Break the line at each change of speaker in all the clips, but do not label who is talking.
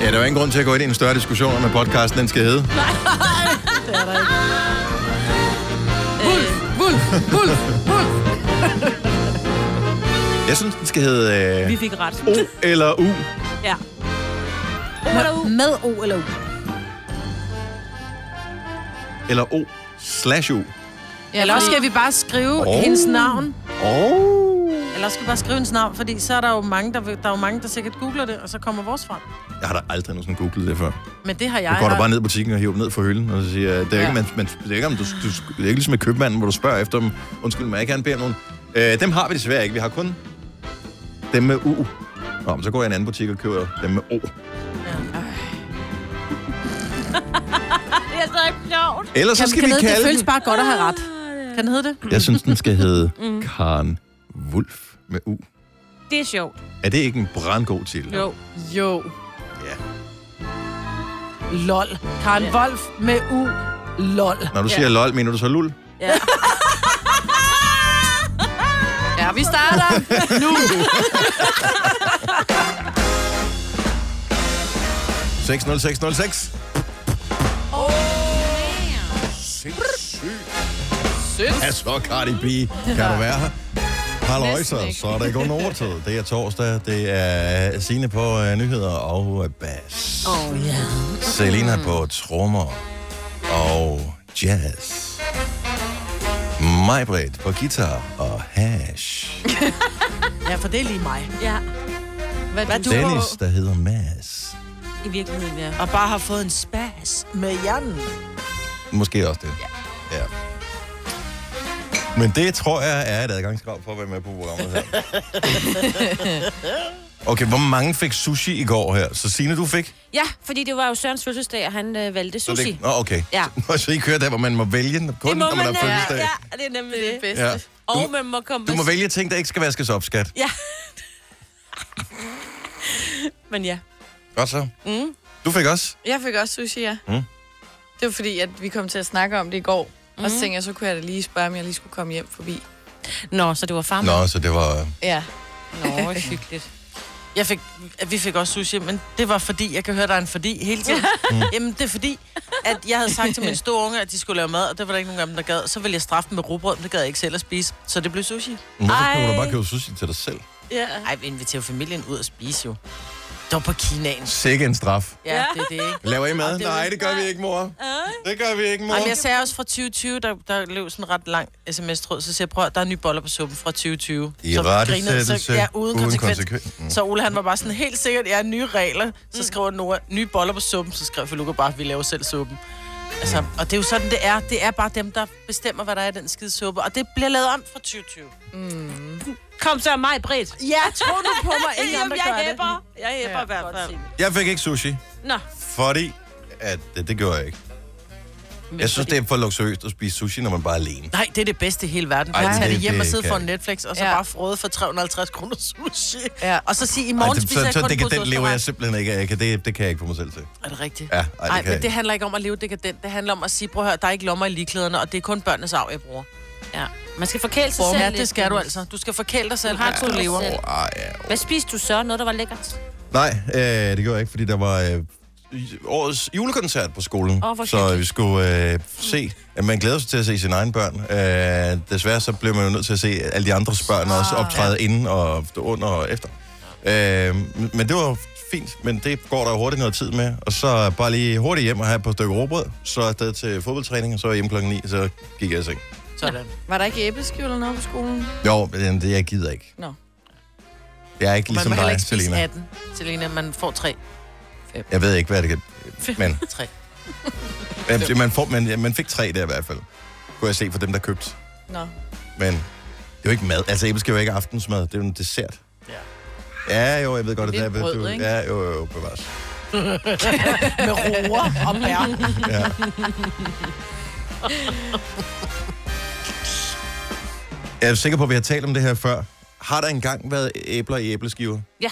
Ja, der er jo ingen grund til at gå ind i en større diskussion om, hvad podcasten den skal hedde.
Det er der ikke. Wolf, Wolf, Wolf, Wolf.
Jeg synes, den skal hedde øh,
Vi fik ret.
O eller U.
Ja.
Med O eller U.
Eller O slash U.
Ja, eller også skal vi bare skrive
Åh.
oh. hendes navn.
Oh.
Eller også skal vi bare skrive hendes navn, fordi så er der jo mange, der, vil- der, er jo mange, der sikkert googler det, og så kommer vores frem.
Jeg har da aldrig nogensinde googlet det før.
Men det har jeg.
Du går da
og-
bare ned i butikken og hiver dem ned fra hylden, og så siger jeg, det er jo ikke,
Ja.
man, man, det er ikke, om du, du, det er ikke ligesom med købmanden, hvor du spørger efter dem. Undskyld, må jeg gerne bede om nogen? Øh, dem har vi desværre ikke. Vi har kun dem med U. Nå, men så går jeg i en anden butik og køber dem med O.
Det er så sjovt.
Ellers så
Jamen,
skal
kan
vi
det,
kalde
det
den-
føles bare godt at have ret. Kan den hedde det?
Jeg synes, den skal hedde
Mm.
Karen Wulf med U.
Det er sjovt.
Er det ikke en brandgod titel?
Jo.
Jo.
Ja.
Lol. Karen Wolf med U. Lol.
Når du siger lol, mener du så lul?
Ja, vi starter nu.
Oh, Sindssygt. Ja, så Cardi B. Kan du være her? Halløj, så,
Næsten ikke.
så er der ikke nogen overtid. Det er torsdag, det er Signe på uh, nyheder og uh, bass.
Åh, oh, ja.
Selina på trommer og jazz. Majbrit på guitar og hash.
Ja, for det er lige mig.
Ja.
Hvad,
Hvad
Hvad
du
du?
er
Dennis, der hedder Mads.
I virkeligheden, ja.
Og bare har fået en spas med hjernen.
Måske også det. Ja. ja. Men det tror jeg er et adgangskrav for at være med på programmet her. Okay, hvor mange fik sushi i går her? Så Signe, du fik?
Ja, fordi det var jo Sørens fødselsdag, og han øh, valgte
Så
sushi.
Det, nå, okay.
Ja.
Så, så I kører der, hvor man må vælge, kun
Det må
når man
man,
har
øh,
fødselsdag.
ja, det er nemlig det.
bedste.
Ja. Du,
Og man må komme
du må
på-
vælge ting, der ikke skal vaskes op, skat.
Ja. Men ja.
Godt så. Mm. Du fik også?
Jeg fik også sushi, ja.
Mm.
Det var fordi, at vi kom til at snakke om det i går. Mm. Og så tænkte jeg, så kunne jeg da lige spørge, om jeg lige skulle komme hjem forbi.
Nå, så det var farmand.
Nå, så det var...
Ja.
Nå, hyggeligt.
Jeg fik, vi fik også sushi, men det var fordi, jeg kan høre, der er en fordi hele tiden. Mm. Jamen, det er fordi, at jeg havde sagt til mine store unge, at de skulle lave mad, og det var der ikke nogen af dem, der gad. Så ville jeg straffe dem med rugbrød, men det gad jeg ikke selv at spise. Så det blev sushi.
Hvorfor kunne du
Ej.
bare købe sushi til dig selv?
Ja.
Ej, vi inviterer familien ud og spise jo. Det var på Kinaen.
Sikke en straf.
Ja, det er det, ikke?
Laver I mad?
det er-
Nej, det gør vi ikke, mor. Det gør vi ikke, mor.
Jamen, jeg sagde også fra 2020, der, der løb sådan en ret lang sms-tråd, så siger jeg, prøv at- der er nye boller på suppen fra 2020.
I
så
rettesættelse,
grinede- så- ja, uden,
uden
uden konsekvens.
konsekvens. Mm.
Så Ole, han var bare sådan, helt sikkert, jeg ja, nye regler.
Mm.
Så skriver Nora, nye boller på suppen, så skrev Feluca bare, vi laver selv suppen. Altså,
Mm.
og det er jo sådan, det er. Det er bare dem, der bestemmer, hvad der er i den skide suppe. Og det bliver lavet om fra 2020.
Mm. Kom så, mig, Britt.
Ja, tror du på mig,
Jamen, jeg hæpper. Jeg hæpper
Ja,
i hvert fald.
Jeg fik ikke sushi.
Nå,
Fordi, at øh, det, det gjorde jeg ikke. jeg synes, det er for luksuriøst at spise sushi, når man bare er alene.
Nej, det er det bedste i hele verden.
Ej,
Bare
det-
tage det hjem
det
og sidde
kan
for
jeg ikke.
Netflix, og så
Ja.
bare frode for 350 kroner sushi.
Ja.
Og så sige, i
Ej,
morgen
det,
spiser
så,
jeg
så
kun
dekadent
brunsås
lever
med
jeg simpelthen ikke af. Jeg kan- Det, det kan jeg ikke få mig selv til.
rej. Er det rigtigt?
Ja, ej, det
Nej,
kan jeg
men det
ikke.
handler ikke om at leve dekadent. Det handler om at sige, prøv at høre, der er ikke lommer i ligeklæderne, og det er kun børnenes arv, jeg bruger.
ja. Man skal forkæle sig selv
Ja,
lidt,
det skal du
Dennis.
altså. Du skal forkæle dig selv,
Du har
mens
to
du lever.
lever.
Åh, ej, ja.
Hvad spiste du så? Noget, der var lækkert?
Nej, øh, det gjorde jeg ikke, fordi der var øh, i- årets julekoncert på skolen.
Åh, hvor
så
hyggeligt.
vi skulle øh, se, at man glæder sig til at se sine egne børn. Øh, desværre så blev man jo nødt til at se alle de andres børn også
Ah,
optræde inden og under og efter. Øh, men- men det var fint, men det går der jo hurtigt noget tid med. Og så bare lige hurtigt hjem og have et par stykker råbrød, så afsted til fodboldtræning, og så hjem klokken 9, så gik jeg i seng.
Sådan.
Var der ikke æbleskiv eller noget på skolen?
Jo, men det jeg gider ikke.
Nå.
Jeg er ikke
Man
ligesom
må heller
dig,
ikke spise øh.
Selina.
18, Selina. Man får 3.
Jeg ved ikke, hvad det kan... Men...
3.
Ja, man, får, man, ja, man fik tre der i hvert fald, kunne jeg se for dem, der købte.
Nå.
Men det er jo ikke mad. Altså, æbleskiver er jo ikke aftensmad. Det er jo en dessert.
Ja.
Ja, jo, jeg ved godt, at
Det er
det er...
brød,
du-
ikke?
Ja, jo, jo, bevares.
Med roer og bær.
Ja. Jeg er sikker på, at vi har talt om det her før. Har der engang været æbler i æbleskiver?
Ja.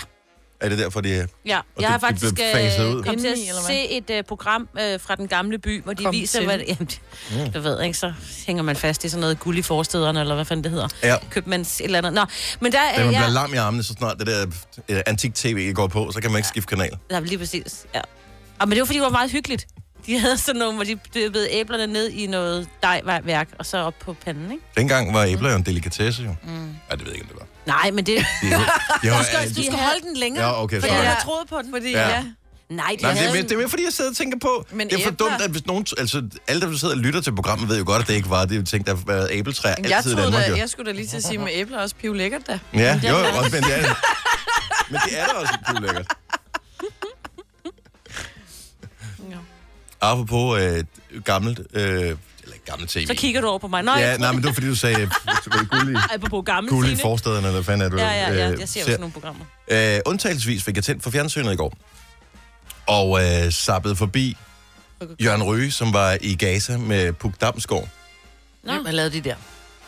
Er det derfor, de er...
Ja,
Og
jeg
det-
har
det blev
faktisk
faset ud.
øh, kommet til at
Indeni, eller hvad?
se et øh, program øh, fra den gamle by, hvor de
Kom
viser,
til.
hvad... Jamen, det-
Mm.
du ved ikke, så hænger man fast i sådan noget guld i forstederne, eller hvad fanden det hedder.
Ja.
Købmands et eller andet. Nå, men der
Da man
er...
bliver
Jeg,
lam i armene, så snart det der øh, antik-tv går på, så kan man ikke skifte kanal.
der er lige præcis, ja. Og, men det var, fordi det var meget hyggeligt. De havde sådan nogle, hvor de dyppede æblerne ned i noget dejværk, og så op på panden, ikke?
Dengang var æbler jo en delikatesse, jo. Mm. Ja, det ved jeg ikke, om det var.
Nej, men det...
De, de, de,
Du skal, du skal holde den længere.
Ja, okay,
fordi
sorry.
jeg har troet på den.
Fordi,
Ja.
ja. ja.
Nej, de
Nej, men det, er
havde...
mere, det er mere, fordi jeg sidder og tænker på... Men
Men
det er for
æbler-
dumt, at hvis nogen... Altså, alle, der sidder og lytter til programmet, ved jo godt, at det ikke var. Det er jo ting, der har været æbletræer
Men Jeg,
altid i
troede
Danmark, jo.
da, jeg skulle da lige til at sige med æbler også piv lækkert da.
Ja, jo, jo, også, men det er Men det er da også lidt lækkert.
Ja.
Apropos øh, gammelt... Øh, eller ikke gammelt tv.
Så kigger du over på mig. Nej,
Ja, nej, men det var fordi, du sagde... øh, Gullig,
apropos gamle
gullig
Signe.
forstederne, eller hvad fanden er du?
Ja, ja, ja.
øh,
Jeg ser jo
ser.
sådan nogle programmer.
Øh, undtagelsesvis fik jeg tændt for fjernsynet i går. Og øh, zappede forbi Jørgen Røge, som var i Gaza med Puk Damsgaard.
Nå.
Hvem har lavet de der?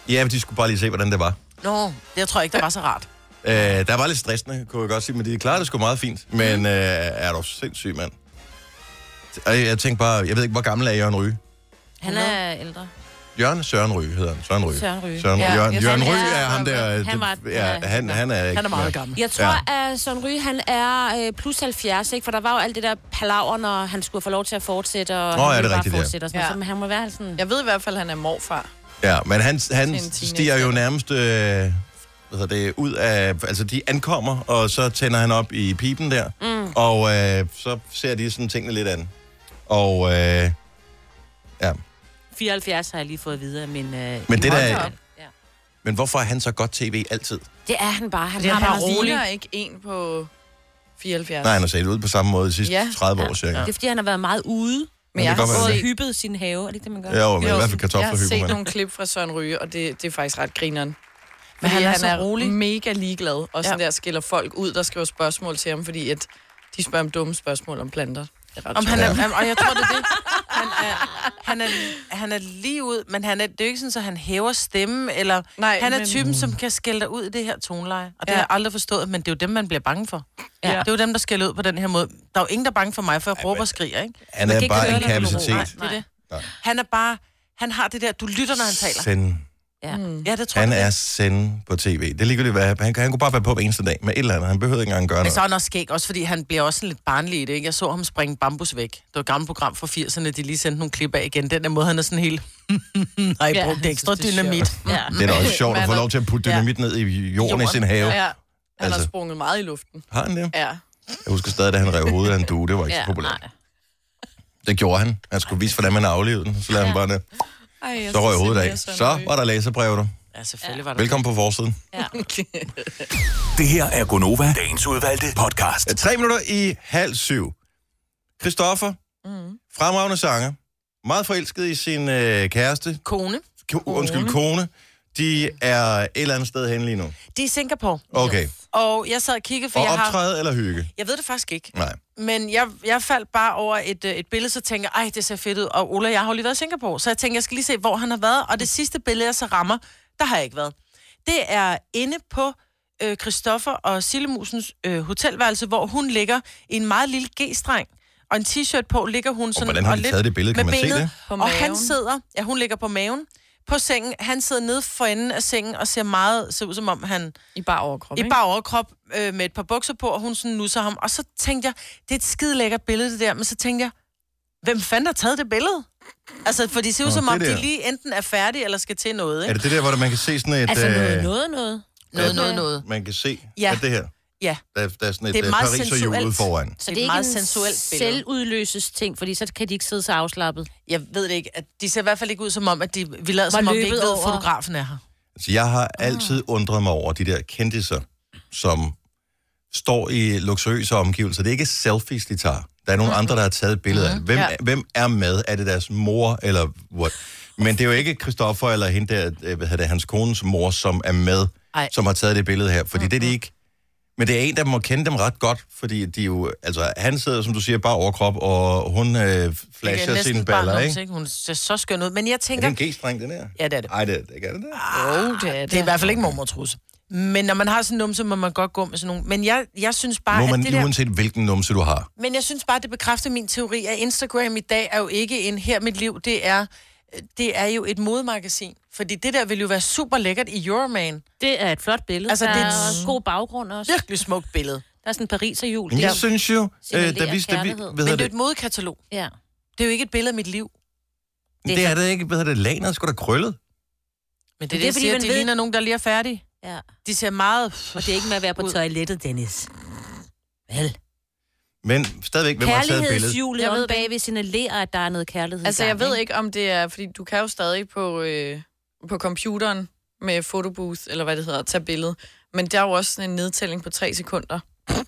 Ja, men de skulle bare lige se, hvordan det var.
Nå, det tror jeg ikke, der var så rart.
Øh, der var lidt stressende, kunne jeg godt sige, men de klarede det sgu meget fint.
Mhm.
Men øh, er du sindssyg, mand? Og jeg tænkte bare, jeg ved ikke, hvor gammel er Jørgen Ryge?
Han er ældre.
Jørgen Søren Ryge hedder han. Søren Ryge.
Søren Ryge.
Søren, ja,
Ja,
Jørgen,
jeg
Jørgen
tror,
Ryge
han er-
er ham der.
han var-
det- ja, han, han, er ikke
Han er meget
mere.
gammel.
Jeg tror, at Søren Ryge, han er øh, plus 70, ikke? For der var jo alt det der palaver, når han skulle få lov til at fortsætte, og
Nå,
han
ja,
ville
det er
bare
rigtigt, ja.
fortsætte og sådan
Ja.
noget. Så han må være sådan...
Jeg ved i hvert fald, at han er morfar.
Ja, men han, han
en teenager.
stiger jo nærmest øh, hvad hedder det, ud af... Altså, de ankommer, og så tænder han op i pipen der. Mm. Og øh, så ser de sådan tingene lidt an. Og øh, ja,
74 har jeg lige fået at vide af min... Øh,
Men det der-
Ja.
men hvorfor er han så godt tv altid?
Det er han bare. Han
Det er
har
bare
bare
Han
rolig.
ligner ikke en på 74.
Nej, han har set ud på samme måde de sidste ja.
Ja.
30 år cirka.
Det er, fordi han har været meget ude
men
det
jeg
kan
har
godt
og
være.
set,
hyppet sin have. Er det ikke det, man gør?
Ja, jo, men i
jo,
hvert fald
jeg har
kartofler
set
man.
nogle klip fra Søren Ryge, og det, det er faktisk ret grineren. Men han,
Fordi han er
han
så
er,
rolig.
mega ligeglad, og sådan
Ja.
ja. der skiller folk ud, der skriver spørgsmål til ham, fordi at de spørger om dumme spørgsmål om planter. Det er ret
Om han
sjovt.
er, og jeg tror, det er det. Han er, han er, han er lige ud, men han er, det er jo ikke sådan, at han hæver stemme, eller
Nej,
han er
men-
typen, som kan skælde dig ud i det her toneleje. Og det
Ja.
har jeg aldrig forstået, men det er jo dem, man bliver bange for. Ja.
Ja.
Det er jo dem, der skælder ud på den her måde. Der er jo ingen, der er bange for mig, for jeg råber og skriger, ikke?
Han
Man
er
kan ikke
bare
høre
en
det, når du
kapacitet.
råber.
Det er det.
Nej.
Han er bare, han har det der, du lytter, når han taler.
Send.
Ja.
Mm.
Ja, det tror
Han
jeg.
er send på tv. Det er ligegyldigt, hvad han, han kunne bare være på hver eneste dag med et eller andet. Han behøvede ikke engang gøre
Men så
noget.
er han også skæg, også fordi han bliver også sådan lidt barnlig i det, ikke? Jeg så ham springe bambus væk. Det var et gammelt program fra 80'erne, de lige sendte nogle klip af igen. Den der måde, han er sådan helt... Nej,
Ja,
ja,
han
brugte ekstra
synes, det er
dynamit.
Ja.
Det er da også sjovt at få
Man er-
lov til at putte
Ja.
dynamit ned i jorden i sin have.
Ja, han altså.
Altså.
har sprunget meget i luften.
Har han det?
Ja.
Jeg husker stadig, da han rev hovedet af en due. Det var ikke så
Ja,
populært.
nej.
Det gjorde han. Han skulle vise, hvordan man aflevede den. Så lavede han bare det.
Ej, jeg
Så røg
skal se
hovedet
mere
af.
Søren
Så
Ryge.
var der læserbrev der.
Ja, selvfølgelig var der
Velkommen på forsiden.
Ja.
Det her er Gonova, dagens udvalgte podcast.
Øh, Tre minutter i halv syv. Christoffer, mm. fremragende sanger, meget forelsket i sin øh, kæreste,
kone.
Ko- undskyld, kone. De er et eller andet sted henne lige nu.
Det er i Singapore.
Okay.
Og jeg sad og kiggede, for
Og
jeg har...
optræde eller hygge?
Jeg ved det faktisk ikke.
Nej.
Men jeg, jeg faldt bare over et, øh, et billede, så tænker jeg, ej, det ser fedt ud. Og Ola, jeg har jo lige været i Singapore, så jeg tænker, jeg skal lige se, hvor han har været. Og det sidste billede, jeg så rammer, der har jeg ikke været. Det er inde på øh, Christoffer og Sillemusens øh, hotelværelse, hvor hun ligger i en meget lille G-streng. Og en t-shirt på ligger hun sådan...
hvordan har de
lidt
taget det billede? Kan
med
man se
benet.
det?
På
Og han
maven.
sidder... Ja, hun ligger på maven på sengen. Han sidder nede for enden af sengen og ser meget... Ser ud som om han...
I bare overkrop,
I bare overkrop øh, med et par bukser på, og hun sådan nusser ham. Og så tænkte jeg, det er et skide lækkert billede, det der. Men så tænkte jeg, hvem fanden har taget det billede? Altså, for de ser ud
Nå,
som
det
om,
der.
de lige enten er færdige, eller skal til noget,
Er
ikke?
det det der, hvor man kan se sådan et...
Altså noget,
øh,
noget, noget.
Noget, noget, noget.
Man kan se, ja.
Ja.
at det her,
Ja,
der, der er sådan et
Det er
øh,
meget
pariserhjul
sensuelt.
ude foran.
Så det
Det er
er
et
ikke
meget
en
sensuelt billede.
selvudløses ting, fordi så kan de ikke sidde så afslappet.
jeg ved det ikke. At de ser i hvert fald ikke ud som om, at de, vi lader som om, vi ikke
løbet
ved, at
over.
fotografen er her.
Altså, jeg har
Ah.
altid undret mig over de der kendtiser, som står i luksuriøse omgivelser. Det er ikke selfies, de tager. Der er nogle andre, der har taget billeder
Mm-hmm.
af det. Hvem,
Ja.
hvem er med? Er det deres mor, eller what? Men det er jo ikke Christoffer eller hende der, øh, hvad hedder det, hans kones mor, som er med, Ej.
Ej.
som har taget det billede her. Fordi mm-hmm. det er de ikke. Men det er en, der må kende dem ret godt, fordi de jo, altså, han sidder, som du siger, bare overkrop, og hun øh,
Det er
flasher
næsten
sine
bare
baller,
nogen,
ikke?
ikke? Hun ser så skøn ud. Men jeg
Er det
tænker...
en g-streng, den her?
Ja, det er det.
Nej, det, det er det der.
Ah,
Jo, det er det.
Det er i hvert fald ikke mormor trusse. Men når man har sådan en numse, må man godt gå med sådan nogle. Men jeg, jeg synes bare,
Må
at
man,
det der...
uanset hvilken numse du har.
Men jeg synes bare, det bekræfter min teori, at Instagram i dag er jo ikke en her mit liv. Det er, det er jo et modemagasin. Fordi det der ville jo være super lækkert i Euroman.
Det er et flot billede.
Altså,
Altså, der
det
det
er
er
et-
også god baggrund også.
Virkelig smukt billede.
Der er sådan en Paris og jul.
Men
der.
jeg synes jo, øh,
Signalerer
da vi, da vi
kærlighed.
hvad
Men
hedder
det er jo
det,
et modekatalog.
Ja.
Det er jo ikke et billede af mit liv.
det-
det er det ikke, hvad hedder det, lagen er sgu da krøllet.
Men det er det,
det er,
jeg
fordi
siger,
man
de
ved-
ligner nogen, der lige er færdige.
ja.
De ser meget...
Og det er ikke med at være på toilettet, Dennis. Vel.
Men stadigvæk, hvem har taget billedet?
Kærlighedshjulet
Jeg ved
om
det
bagved signalerer, at der er noget kærlighed. i
Altså, jeg
gang,
ved ikke, om det er... Fordi du kan jo stadig på, øh, på computeren med fotobooth, eller hvad det hedder, tage billede. Men der er jo også sådan en nedtælling på tre sekunder.
Altså,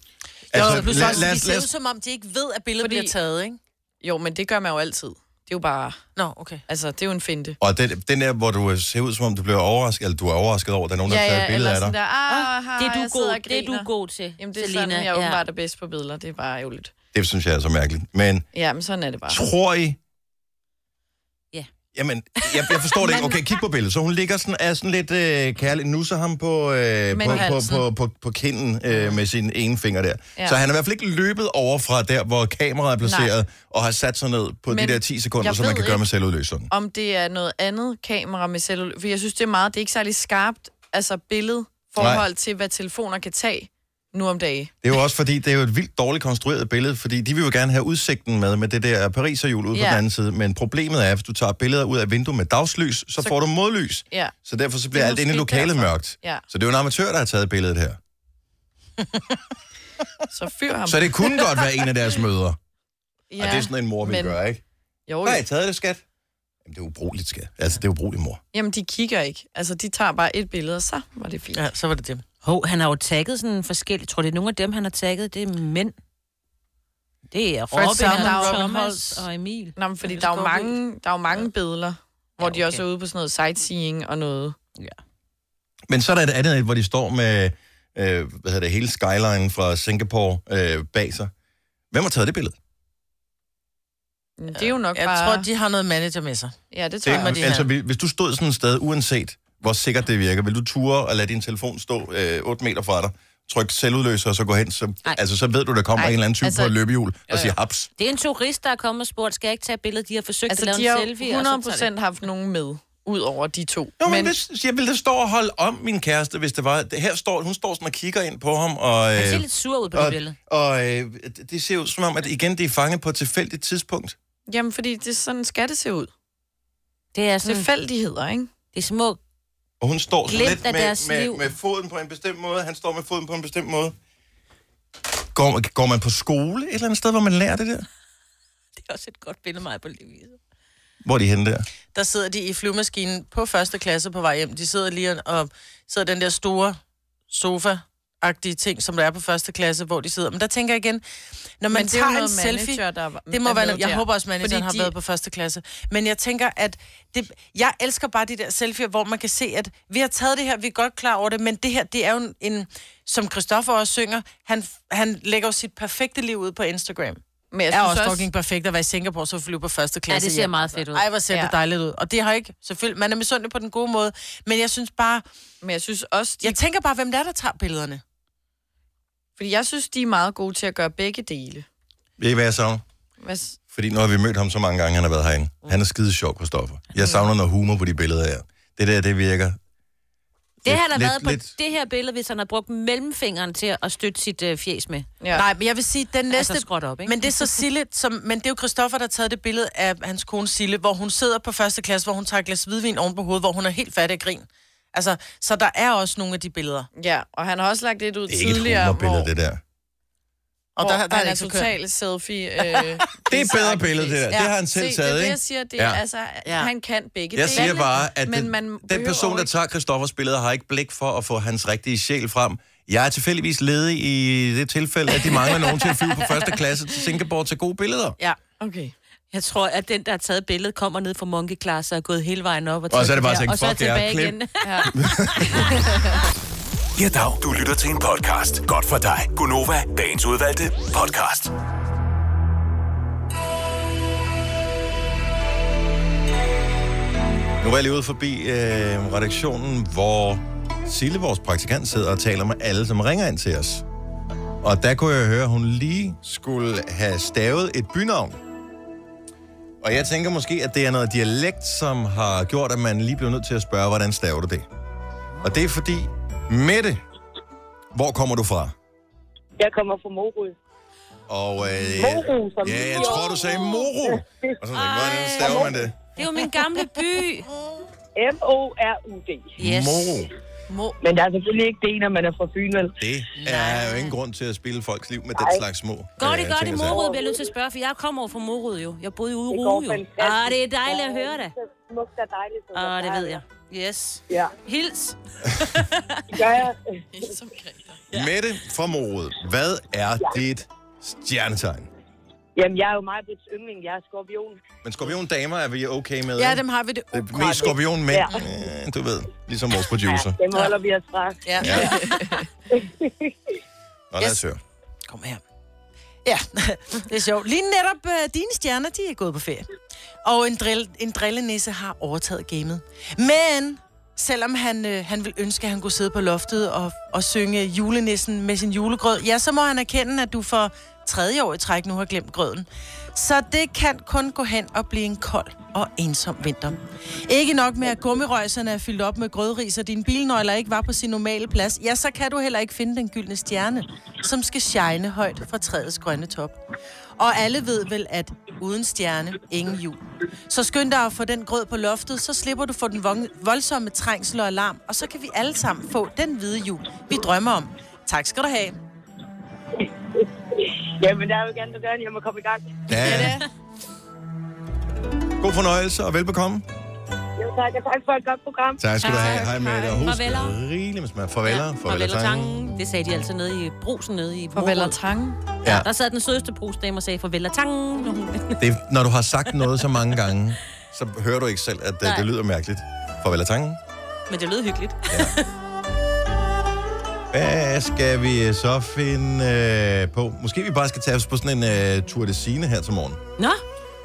Altså,
jo, plus
lad,
også,
lad,
de
os-
ser
lad,
ud
os-
som om, de ikke ved, at billedet
Fordi-
bliver taget, ikke?
Jo, men det gør man jo altid. Det er jo bare...
Nå, okay.
Altså, det er jo en finte.
og den, den der, hvor du øh, ser ud, som om du bliver overrasket, eller du er overrasket over, at der er nogen, der har taget et billede af dig.
der, ah, her,
Det
jeg
er du,
sidder
god,
og
det er du
griner."
god til,
Jamen, det er
Selina.
sådan, jeg åbenbart er bedst på billeder. Det er bare ærgerligt.
Det synes jeg er så mærkeligt. Men
Ja, men sådan er det bare.
tror I...
Ja.
Jamen, jeg, jeg forstår det ikke. Okay, kig på billedet. Så hun ligger sådan, er sådan lidt øh, kærlig. Nusser ham på, øh,
Men
på, på,
halsen.
på, på, på kinden øh, med sin ene finger der. Ja.
Ja.
Så han er i hvert fald ikke løbet over fra der, hvor kameraet er placeret, Nej. og har sat sig ned på Men
Men
de der 10 sekunder,
jeg
som man
ved
kan gøre
ikke-
med selvudløseren.
Om det er noget andet kamera med cellul... For jeg synes, det er meget... Det er ikke særlig skarpt, altså billede forhold til, hvad telefoner kan tage nu om dagen.
Det er jo også fordi, det er jo et vildt dårligt konstrueret billede, fordi de vil jo gerne have udsigten med, med det der pariserhjul ude ja. på
Ja.
den anden side. Men problemet er, at hvis du tager billeder ud af vinduet med dagslys, så, så får du modlys.
Ja.
Så derfor så bliver
Det er
alt inde i
måske
lokalet
derfor.
mørkt.
Ja.
Så det er jo en amatør, der har taget billedet her.
Så fyr ham.
Så det kunne godt være en af deres møder.
ja.
Ja, og det er sådan en mor, vi
men-
gør, ikke?
Jo,
Hvad har I taget det, skat? Jamen, det er ubrugeligt, skat. Altså, det er ubrugeligt, mor.
Jamen, de kigger ikke. Altså, de tager bare et billede, og så var det fint. Ja.
Ja, så var det det.
Hov, han har jo tagget sådan forskellige... Tror det er nogle af dem, han har tagget? Det er mænd. Det er Robin,
Summer,
Robin,
Robin
Thomas
Holst.
og Emil.
Nå, men fordi
Det
der er, jo
skal vi-
mange, der er jo mange billeder, hvor
Ja,
de også
okay.
er ude på sådan noget sightseeing og noget.
Men så er der et andet, hvor de står med øh, hvad hedder det, hele skyline fra Singapore øh, bag sig. Hvem har taget det billede?
Men Det er jo nok
Jeg
bare...
tror, de har noget manager med sig.
Ja, det tror jeg.
Det,
de
det
her.
altså, vi- hvis du stod sådan et sted, uanset hvor sikkert det virker, vil du ture og lade din telefon stå øh, 8 meter fra dig, trykke selvudløser og så gå hen, så,
Ej. Øh,
altså, så ved du, der kommer
Ej,
en eller anden type altså,
altså-
på et løbehjul og siger haps.
Det er en turist, der er kommet og spurgt, skal jeg ikke tage billede? De har forsøgt
Altså,
at lave
de har
en selfie. og så tager de-
jo 100% haft nogen med, ud over de to.
Jo, men, men hvis, jeg ville da stå og holde om min kæreste, hvis det var... det- Her står, hun står sådan og kigger ind på ham, og...
Han ser
Øh,
lidt sur ud på det
og,
billede.
og øh, det- det ser ud som om, at igen, det er fanget på et tilfældigt tidspunkt.
Jamen, fordi det er sådan, skal det se ud.
Det er sådan...
Tilfældigheder, ikke?
Det er små...
Og hun står sådan
Glimt
lidt
af
med,
deres
med,
liv.
med foden på en bestemt måde, han står med foden på en bestemt måde. Går, går man på skole et eller andet sted, hvor man lærer det der?
Det er også et godt billede mig på livet.
Hvor er de henne der?
Der sidder de i flyvemaskinen på første klasse på vej hjem. De sidder lige og sidder i den der store sofa-agtige ting, som der er på første klasse, hvor de sidder. Men der tænker jeg igen, når man
Men det er jo
tager en
noget
selfie...
manager, der
Det må
er
være,
med
jeg
der.
håber også, manageren
Fordi
har
de-
været på første klasse. Men jeg tænker, at det, jeg elsker bare de der selfies, hvor man kan se, at vi har taget det her, vi er godt klar over det, men det her, det er jo en, en som Christoffer også synger, han, han lægger jo sit perfekte liv ud på Instagram.
Men jeg
Jeg er
synes
også
også,
fucking perfekt at være i Singapore, så flyve på første
Ja,
klasse.
det ser
hjem,
meget
altså.
fedt ud.
Ej, hvor ser ja. det
Ja.
dejligt ud. Og det har ikke, selvfølgelig, man er misundelig på den gode måde, men jeg synes bare,
men jeg synes også, de,
jeg tænker bare, hvem det er, der tager billederne.
fordi jeg synes, de er meget gode til at gøre begge dele.
Ved I, hvad jeg savner?
Hvad, s-
Fordi nu har vi mødt ham så mange gange, han har været herinde.
Mm.
Han er skide sjov, Christoffer. Jeg savner noget humor på de billeder her. Det der, det virker...
Det
lidt-
han har
lidt-
været på
lidt-
det her billede, hvis han har brugt mellemfingeren til at støtte sit øh, fjes med.
Ja.
Ja. Nej, men jeg vil sige, den næste...
Næste... Altså skråt op, ikke?
Men det er så Sille, som, men det er jo Christoffer, der har taget det billede af hans kone Sille, hvor hun sidder på første klasse, hvor hun tager et glas hvidvin oven på hovedet, hvor hun er helt fattig af grin. Altså, så der er også nogle af de billeder.
ja, og han har også lagt et ud
Det er ikke et
tidligere,
humorbillede,
hvor,
det der.
Og
hvor
der, der, der er
han
det
er
ikke så kønt.
totalt selfie. Øh, det
Det er et bedre billede, det der. Det har han selv taget,
se, det, er det,
ikke?
jeg siger, det er,
Ja.
altså,
Ja.
han kan begge
Jeg siger
dele,
bare, at
men
den,
man
den
behøver
person,
jo
der
ikke-
tager Christoffers billeder, har ikke blik for at få hans rigtige sjæl frem. Jeg er tilfældigvis ledig i det tilfælde, at de mangler nogen til at flyve på første klasse til Singapore til gode billeder.
Ja.
Okay.
Jeg tror, at den, der har taget billedet, kommer ned fra Monkey Class og er gået hele vejen op. Og,
så er det bare
der,
tænkt,
og så er
fuck, det er
tilbage
klip.
igen.
Ja.
Ja, dag. Du lytter til en podcast. Godt for dig. Gunova. Dagens udvalgte podcast.
Nu var jeg lige ude forbi øh, redaktionen, hvor Sille, vores praktikant, sidder og taler med alle, som ringer ind til os. Og der kunne jeg høre, at hun lige skulle have stavet et bynavn. Og jeg tænker måske, at det er noget dialekt, som har gjort, at man lige blev nødt til at spørge, hvordan staver du det? Og det er fordi, Mette, hvor kommer du fra?
Jeg kommer fra Morud.
Og, øh,
Moro, som
ja,
vi
jeg
siger.
tror, du sagde Moro. Og så tænkte, jeg, hvordan staver man det?
Det er jo min gamle by.
M-O-R-U-D.
Yes.
Moro.
Men der er selvfølgelig ikke det, når man er fra Fyn, vel?
Det er jo ingen grund til at spille folks liv med den slags små.
Går
øh,
det godt
ting
i
og sager.
Morud, bliver jeg nødt til at spørge, for jeg kommer over fra Morud jo. Jeg boede i Ude
Det går
jo.
fantastisk.
Ah, det er dejligt at høre det.
Det er så smukt og dejligt. som
Ah, det
er.
ved jeg. Yes.
Ja,
Hils.
det gør jeg.
Som Greta.
Mette fra Morud, hvad er dit stjernetegn?
Jamen, jeg er jo meget på yndling. Jeg er skorpion.
Men skorpiondamer er vi okay med?
Ja,
ikke?
dem har vi det.
det er mest skorpionmænd, ja. du ved, ligesom vores producer.
Dem holder vi os fra.
Ja.
Ja. Nå, lad os
Yes.
høre.
Kom her. Ja, det er sjovt. Lige netop øh, dine stjerner, de er gået på ferie. Og en, drill, en drillenisse har overtaget gamet. Men selvom han, øh, han vil ønske, at han kunne sidde på loftet og, og synge julenissen med sin julegrød, ja, så må han erkende, at du for tredje år i træk nu har glemt grøden. Så det kan kun gå hen og blive en kold og ensom vinter. Ikke nok med, at gummirøjserne er fyldt op med grødris, og dine bilnøgler ikke var på sin normale plads, ja, så kan du heller ikke finde den gyldne stjerne, som skal shine højt fra træets grønne top. Og alle ved vel, at uden stjerne, ingen jul. Så skynd dig at få den grød på loftet, så slipper du for den vong- voldsomme trængsel og alarm, og så kan vi alle sammen få den hvide jul, vi drømmer om. Tak skal du have.
Jamen, der er jo gerne, du gør, jeg må komme i gang.
Ja. God fornøjelse og velbekomme.
Jo, tak. Og tak for et godt program.
Tak skal du
Tak.
have. Hej Mette. Og husk,
Farveler.
rigeligt med smag. Farveler.
Farvel og
Farveler.
tangen. Det sagde de altså nede i brusen nede i
Farvel og
Morud.
tang.
Ja,
Der sad den sødeste brusdame og sagde farvel og tangen. når hun-
det, er- når du har sagt noget så mange gange, så hører du ikke selv, at det,
Nej.
det lyder mærkeligt. Farvel og tangen.
Men det lød hyggeligt.
Hvad skal vi så finde øh, på? Måske vi bare skal tage os på sådan en øh, tur de sine her til morgen.
Nå,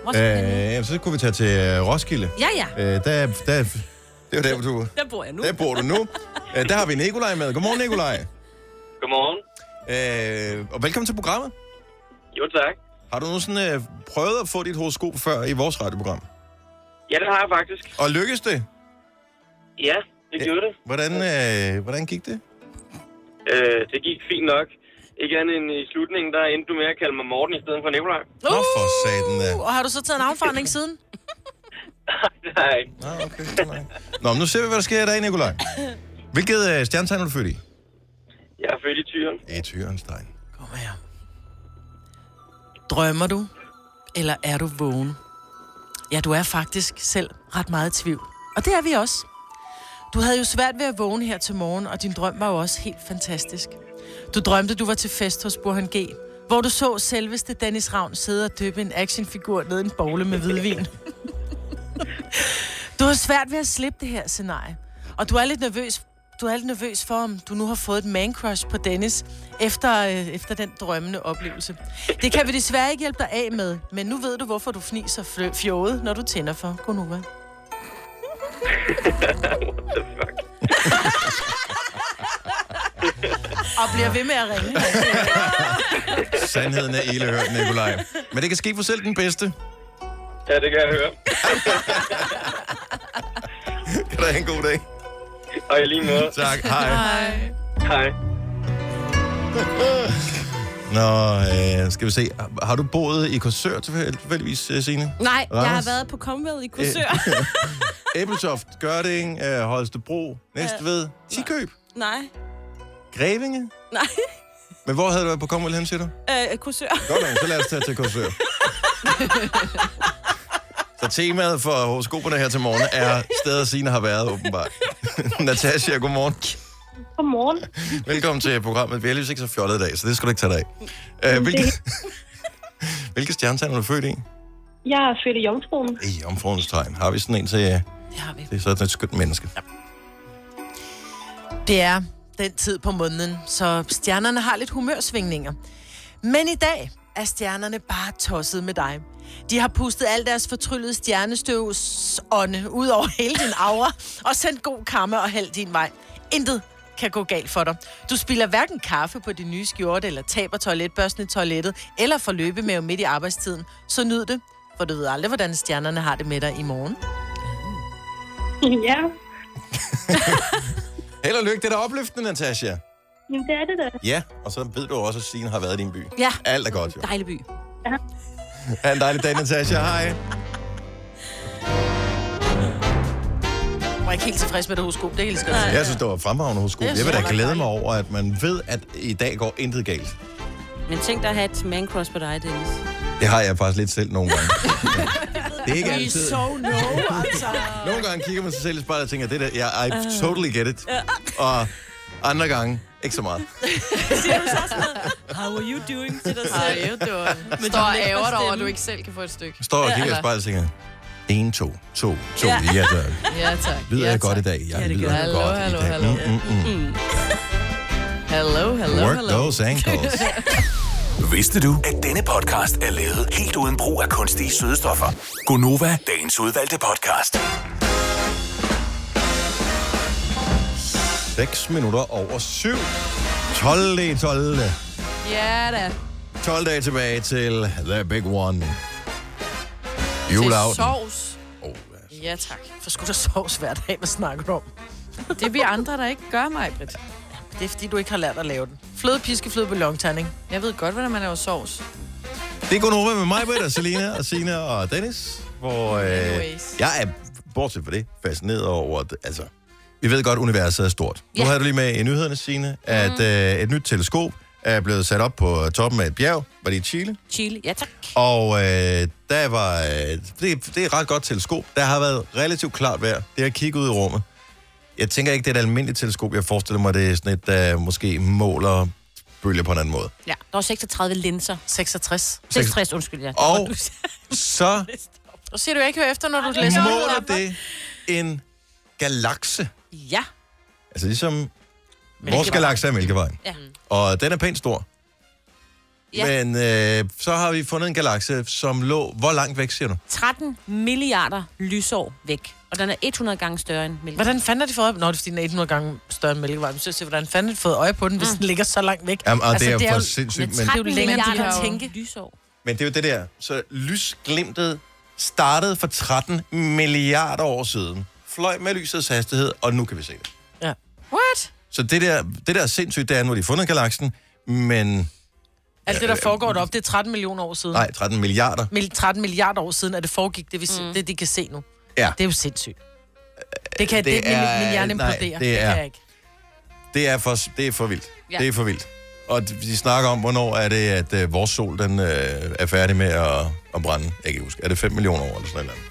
hvor skal vi hen?
Øh, så kunne vi tage til øh, Roskilde.
Ja, ja.
Øh, der, der, det er jo der, hvor du,
Der bor jeg nu.
der bor du nu. Øh, der har vi Nikolaj med. Godmorgen, Nikolaj.
Godmorgen.
Øh, og velkommen til programmet.
Jo, tak.
Har du nogensinde øh, prøvet at få dit horoskop før i vores radioprogram?
Ja, det har jeg faktisk.
Og lykkedes det?
Ja, det
Ja.
gjorde det.
Hvordan, øh, hvordan gik det?
Øh, det gik fint nok. Ikke andet end i slutningen, der endte du med at kalde mig Morten i stedet for Nikolaj. Uh!
Nå, for satan da.
Uh, Og har du så taget en afforandring siden?
Det har jeg ikke.
Nå, okay. så nej. Nå, men nu ser vi, hvad der sker i dag, Nikolaj. Hvilket øh, stjernetegn er du født i?
Jeg er født i tyren.
I Tyrenstein.
Kom her. Drømmer du, eller er du vågen? Ja, du er faktisk selv ret meget i tvivl. Og det er vi også. Du havde jo svært ved at vågne her til morgen, og din drøm var jo også helt fantastisk. Du drømte, du var til fest hos Burhan G., hvor du så selveste Dennis Ravn sidde og døbe en actionfigur ned i en bogle med hvidvin. Du har svært ved at slippe det her scenarie. Og du er lidt nervøs, du er lidt nervøs for, om du nu har fået et man-crush på Dennis efter, øh, efter den drømmende oplevelse. Det kan vi desværre ikke hjælpe dig af med, men nu ved du, hvorfor du fniser fl- fjået, når du tænder for Gonova.
What the fuck?
Og bliver ved med at ringe.
Sandheden er ilehørt, Nikolaj. Men det kan ske for selv den bedste.
Ja, det kan jeg høre.
Kan du have en god dag?
Og i lige måde.
Tak, hej.
Hej.
Nå, øh, skal vi se. Har du boet i Korsør tilfældigvis, øh, Signe?
Nej, jeg har
Randers.
været på Commonwealth i Korsør.
Æbeltoft, Gørding, øh, Holstebro, Næstved, Tikøb,
Nej,
Grevinge.
nej.
Men hvor havde du været på Kommerl hen, siger du?
Øh, Korsør.
Godt nok, så lad os tage til Korsør. Så temaet for horoskoperne her til morgen er steder, Signe har været, åbenbart. Natasha, godmorgen.
Godmorgen.
Velkommen til programmet. Vi er heldigvis ikke så fjollet i dag, så det skal du ikke tage dig af. Øh, hvilke, hvilke stjernetegn er du født i?
Jeg er født i Jomfruen.
I omfruens tegn. Har vi sådan en til... øh,
Det har vi.
Det er sådan et skønt menneske.
Det er den tid på måneden, så stjernerne har lidt humørsvingninger. Men i dag er stjernerne bare tosset med dig. De har pustet al deres fortryllede stjernestøvsånde ud over hele din aura og sendt god karma og held din vej. Intet kan gå galt for dig. Du spilder hverken kaffe på din nye skjorte, eller taber toiletbørsten i toilettet, eller får løbemave midt i arbejdstiden. Så nyd det, for du ved aldrig, hvordan stjernerne har det med dig i morgen.
ja,
Held og lykke, det er da opløftende, Natasha.
jamen, det er det da.
Ja, og så ved du også, at Signe har været i din by.
Ja.
Alt er godt, jo.
Dejlig by.
Ha' en dejlig dag, Natasha. Hej.
Jeg var ikke helt tilfreds med det hosko, det er helt skønt.
Jeg synes, det var fremragende hos skolen.
Det
Jeg vil da
synes jeg
glæde
var
mig over, at man ved, at i dag går intet galt.
Men tænk dig at have et man crush på dig, Dennis.
Det har jeg faktisk lidt selv nogle gange. det er ikke altid.
no, altså.
Nogle gange kigger man sig selv i spejlet og tænker, det der, yeah, I
Øh.
Øh.
totally get it. Og andre gange, ikke så meget.
How are you doing til dig
Ej, jo, det var... Står og ærger dig over, at du ikke selv kan få et stykke.
Jeg står og kigger i spejlet og tænker, en, to, to, to, ja, ja tak.
Ja, tak.
Lyder
ja,
jeg godt i
tak.
dag? Jeg lyder
jeg.
godt
Hallo,
i dag.
hallo,
Mm, mm, mm.
Hello, hello,
Work
hello.
those ankles.
Vidste du, at denne podcast er lavet helt uden brug af kunstige sødestoffer? Gonova, dagens udvalgte podcast.
6 minutter over 7. 12. i 12.
Ja da.
12 dage tilbage til The Big One.
Til
Juleaften.
sovs.
Åh, ja.
Ja, tak.
For skulle der sovs hver dag, hvad snakker du om?
Det vi andre, der ikke gør mig, Britt.
Det er fordi, du ikke har lært at lave den. Fløde, piske, fløde, ballonterning.
Jeg ved godt, hvordan man laver sovs.
Det er Gunova med mig, Britt, og Selina, og Sina og Dennis. Hvor øh,
Anyways.
jeg er, bortset fra det, fascineret over, at, altså, vi ved godt, universet er stort. Nu
Ja.
har du lige med i nyhederne, Sine, at øh, et nyt teleskop er blevet sat op på toppen af et bjerg, var det i Chile?
Chile, ja tak.
Og øh, der var, øh, det, det er et ret godt teleskop. Der har været relativt klart vejr. Det har kigget ud i rummet. Jeg tænker ikke, det er et almindeligt teleskop. Jeg forestiller mig, det er sådan et, der måske måler bølger på en anden måde.
Ja. Der var 36 linser.
66.
66, undskyld, ja.
Og så
Og siger du, jeg ikke hører efter, når du læser
måler det en galakse.
Ja.
Altså ligesom vores
Mælkevejen.
galakse er Mælkevejen.
Ja.
Og den er pænt stor.
Ja.
Mm. Men øh, så har vi fundet en galakse, som lå... Hvor langt væk, siger du?
13 milliarder lysår væk. Og den er 100 gange større end Mælkevejen.
Hvordan fanden har de fået øje på Nå, det er fordi, den er 100 gange større end mælkevejen. Så siger, jeg, hvordan fanden har de fået øje på den,
Ah.
hvis den ligger så langt væk?
Jamen, og altså, det er, for
jo-
sindssygt, men,
13
jo længere, de
milliarder
kan tænke.
lysår.
men det er jo det der. Så lysglimtet startede for 13 milliarder år siden. Fløj med lysets hastighed, og nu kan vi se det.
Ja.
What?
Så det der, det der er sindssygt, det er, nu har de fundet galaksen, men...
Alt det, der foregår deroppe, det er 13 millioner år siden.
øh, mm. Nej, 13 milliarder.
Mil- 13 milliarder år siden, at det foregik, det, vi,
Mm.
se- det de kan se nu.
Ja.
Det er jo sindssygt. Det kan, det,
Øh, det
det min,
er-
min hjerne
nej,
imploderer.
det
det, det
er-
kan jeg ikke.
Det er for, det er for vildt. Ja.
Ja.
Det er for vildt. Og de de snakker om, hvornår er det, at øh, vores sol den, øh, er færdig med at, at brænde. Jeg kan ikke huske. Er det 5 millioner år eller sådan noget?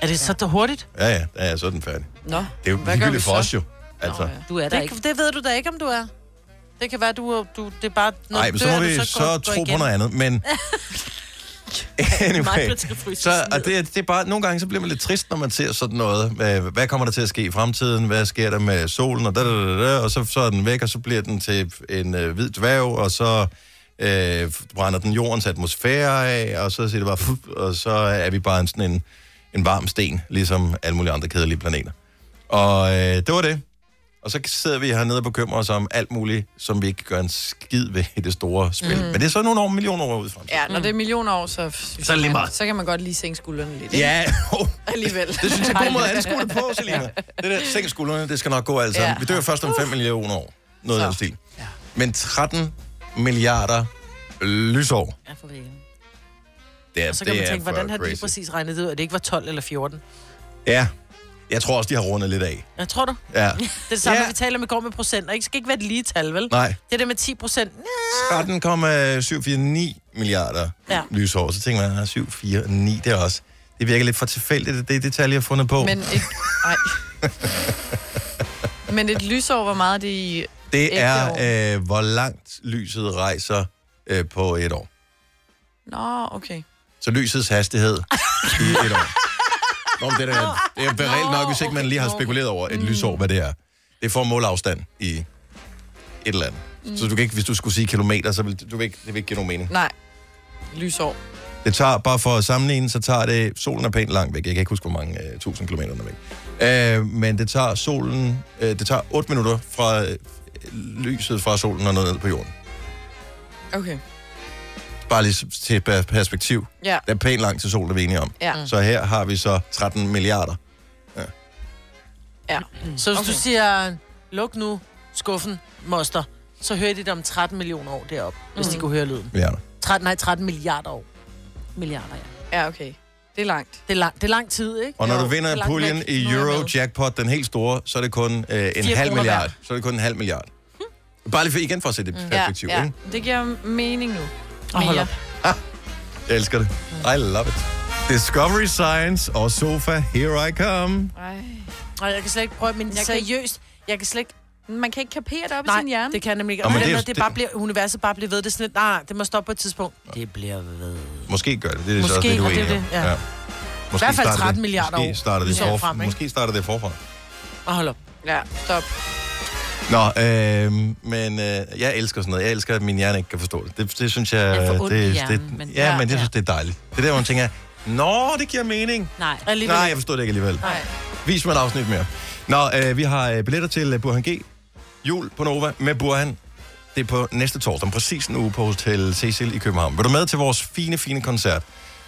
Er det så hurtigt?
Ja, ja, ja, ja, så er den færdig.
Nå,
Det er jo
hvad gør vi
ligegyldigt for
så?
os jo. Altså.
Nå, ja.
Du er der ikke.
Det, det ved du da ikke, om du er. Det kan være, du, er- du det er bare... når
Nej,
du
men så
dør,
må
du
vi så,
går-
så
går
tro på
igen.
noget andet, men...
Meget
anyway,
blot skal fryses
så,
ned.
og det, er- det er bare, nogle gange så bliver man lidt trist, når man ser sådan noget. Hvad, hvad kommer der til at ske i fremtiden? Hvad sker der med solen? Og, da, da, da, da, og så, så er den væk, og så bliver den til en øh, hvid dværg, og så øh, brænder den jordens atmosfære af, og så siger det bare, fup, og så er vi bare en, sådan en, en varm sten, ligesom alle mulige andre kedelige planeter. Og øh, det var det. Og så sidder vi hernede og bekymrer os om alt muligt, som vi ikke gør en skid ved i det store spil. Mm. Men det er så nogle år, millioner år ud fra.
Ja, når det er millioner år, så, så,
Mm. er det lige meget.
så kan man godt lige sænke skuldrene lidt. ikke?
Ja,
alligevel.
det synes jeg er en god måde at anskue det på, Selina. Det der sænk skuldrene, det skal nok gå alt sammen.
Ja.
Vi dør først om 5 millioner år. Noget af den stil. Men 13 milliarder lysår.
Ja, for helvede.
Det er,
Så kan
det
man
er
tænke,
for
hvordan har de
crazy.
præcis regnet det ud, at det ikke var 12 eller 14?
Ja. Jeg tror også, de har rundet lidt af.
Jeg tror du?
Ja.
Det er det samme,
Ja.
ja. vi taler om i går med procenter. Ikke Det skal ikke være et lige tal, vel?
Nej.
Det der med 10 procent.
13,749 milliarder ja.
Ja.
lysår. Så tænker man, "Ah, at 749, det er også... Det virker lidt for tilfældigt, at det er det tal, jeg har fundet på.
Men et, ej. Men et lysår, hvor meget er det i...
det
ægte
er, øh, hvor langt lyset rejser øh, på et år.
Nå, okay.
Så lysets hastighed i et år. Nå, men det, er, da- det er reelt nok, hvis ikke man lige har spekuleret over et lysår, hvad det er. Det er for at måle afstand i et eller
Mm.
andet. Så du kan ikke, hvis du skulle sige kilometer, så vil, du vil ikke, det vil ikke give nogen mening.
Nej. Lysår.
Det tager, bare for at sammenligne, så tager det, solen er pænt langt væk. Jeg kan ikke huske, hvor mange øh, tusind kilometer den er væk. Øh, men det tager solen, øh, det tager 8 minutter fra øh, lyset fra solen og ned på jorden.
Okay.
Bare lige s- til per- perspektiv.
Ja.
Der er pænt langt til solen, det er vi enige om.
Ja.
Så her har vi så 13 milliarder.
Ja.
Så hvis okay. du
Mm. Okay.
siger, luk nu skuffen, moster, så hører de det om 13 millioner år deroppe, mm. hvis de kunne høre lyden.
Milliarder.
13, nej, 13 milliarder år.
Milliarder, ja.
Ja, okay. Det er langt.
Det er lang, det er lang tid, ikke?
Og når
Jo,
du vinder
det er
en
langt
puljen
væk.
i
Nu er jeg med.
Euro Jackpot, den helt store, så er det kun øh, en
Fire Hm.
halv
kroner
milliard.
hver.
Så er det kun en halv milliard. Bare lige for, igen for at sætte det
Mm.
i perspektiv.
Mm. ja,
Ja,
ja. Det giver mening nu.
Og hold
Mere.
op.
Ah, Jeg elsker det. I love it. Discovery Science og Sofa, here I come.
Ej.
Og jeg kan slet ikke prøve, men jeg
kan
seriøst, jeg kan slet ikke...
Man kan ikke kapere det op i
Nej,
sin hjerne.
det kan jeg nemlig ikke.
Nå,
Og
men
det,
det er
det,
jo-
det, det bare bliver, universet bare bliver ved. Det er sådan lidt, nej, nej, det må stoppe på et tidspunkt. Det bliver ved.
Måske gør det. Det er så
Måske,
også det, du er
og det
enig
er
om.
det, ja.
Måske
hvert fald
starter det-
13 milliarder år.
måske starter det
Vi ser
forfra.
frem, ikke?
Måske starter det forfra.
Og hold op.
Ja, stop.
Nå, øh, men øh, jeg elsker sådan noget. Jeg elsker, at min hjerne ikke kan forstå det. Det, det synes jeg...
Jeg får ondt i
det,
hjernen,
det,
men-
ja,
ja,
men jeg
ja.
synes, det er dejligt. Det er der, hvor man tænker, Nå, det giver mening.
Nej.
Nej, jeg forstod det ikke alligevel.
Nej.
Vis mig et afsnit mere. Nå, øh, vi har øh, billetter til øh, Burhan G. Jul på Nova med Burhan. Det er på næste torsdag, om præcis en uge på Hotel Cecil i København. Vil du med til vores fine, fine koncert,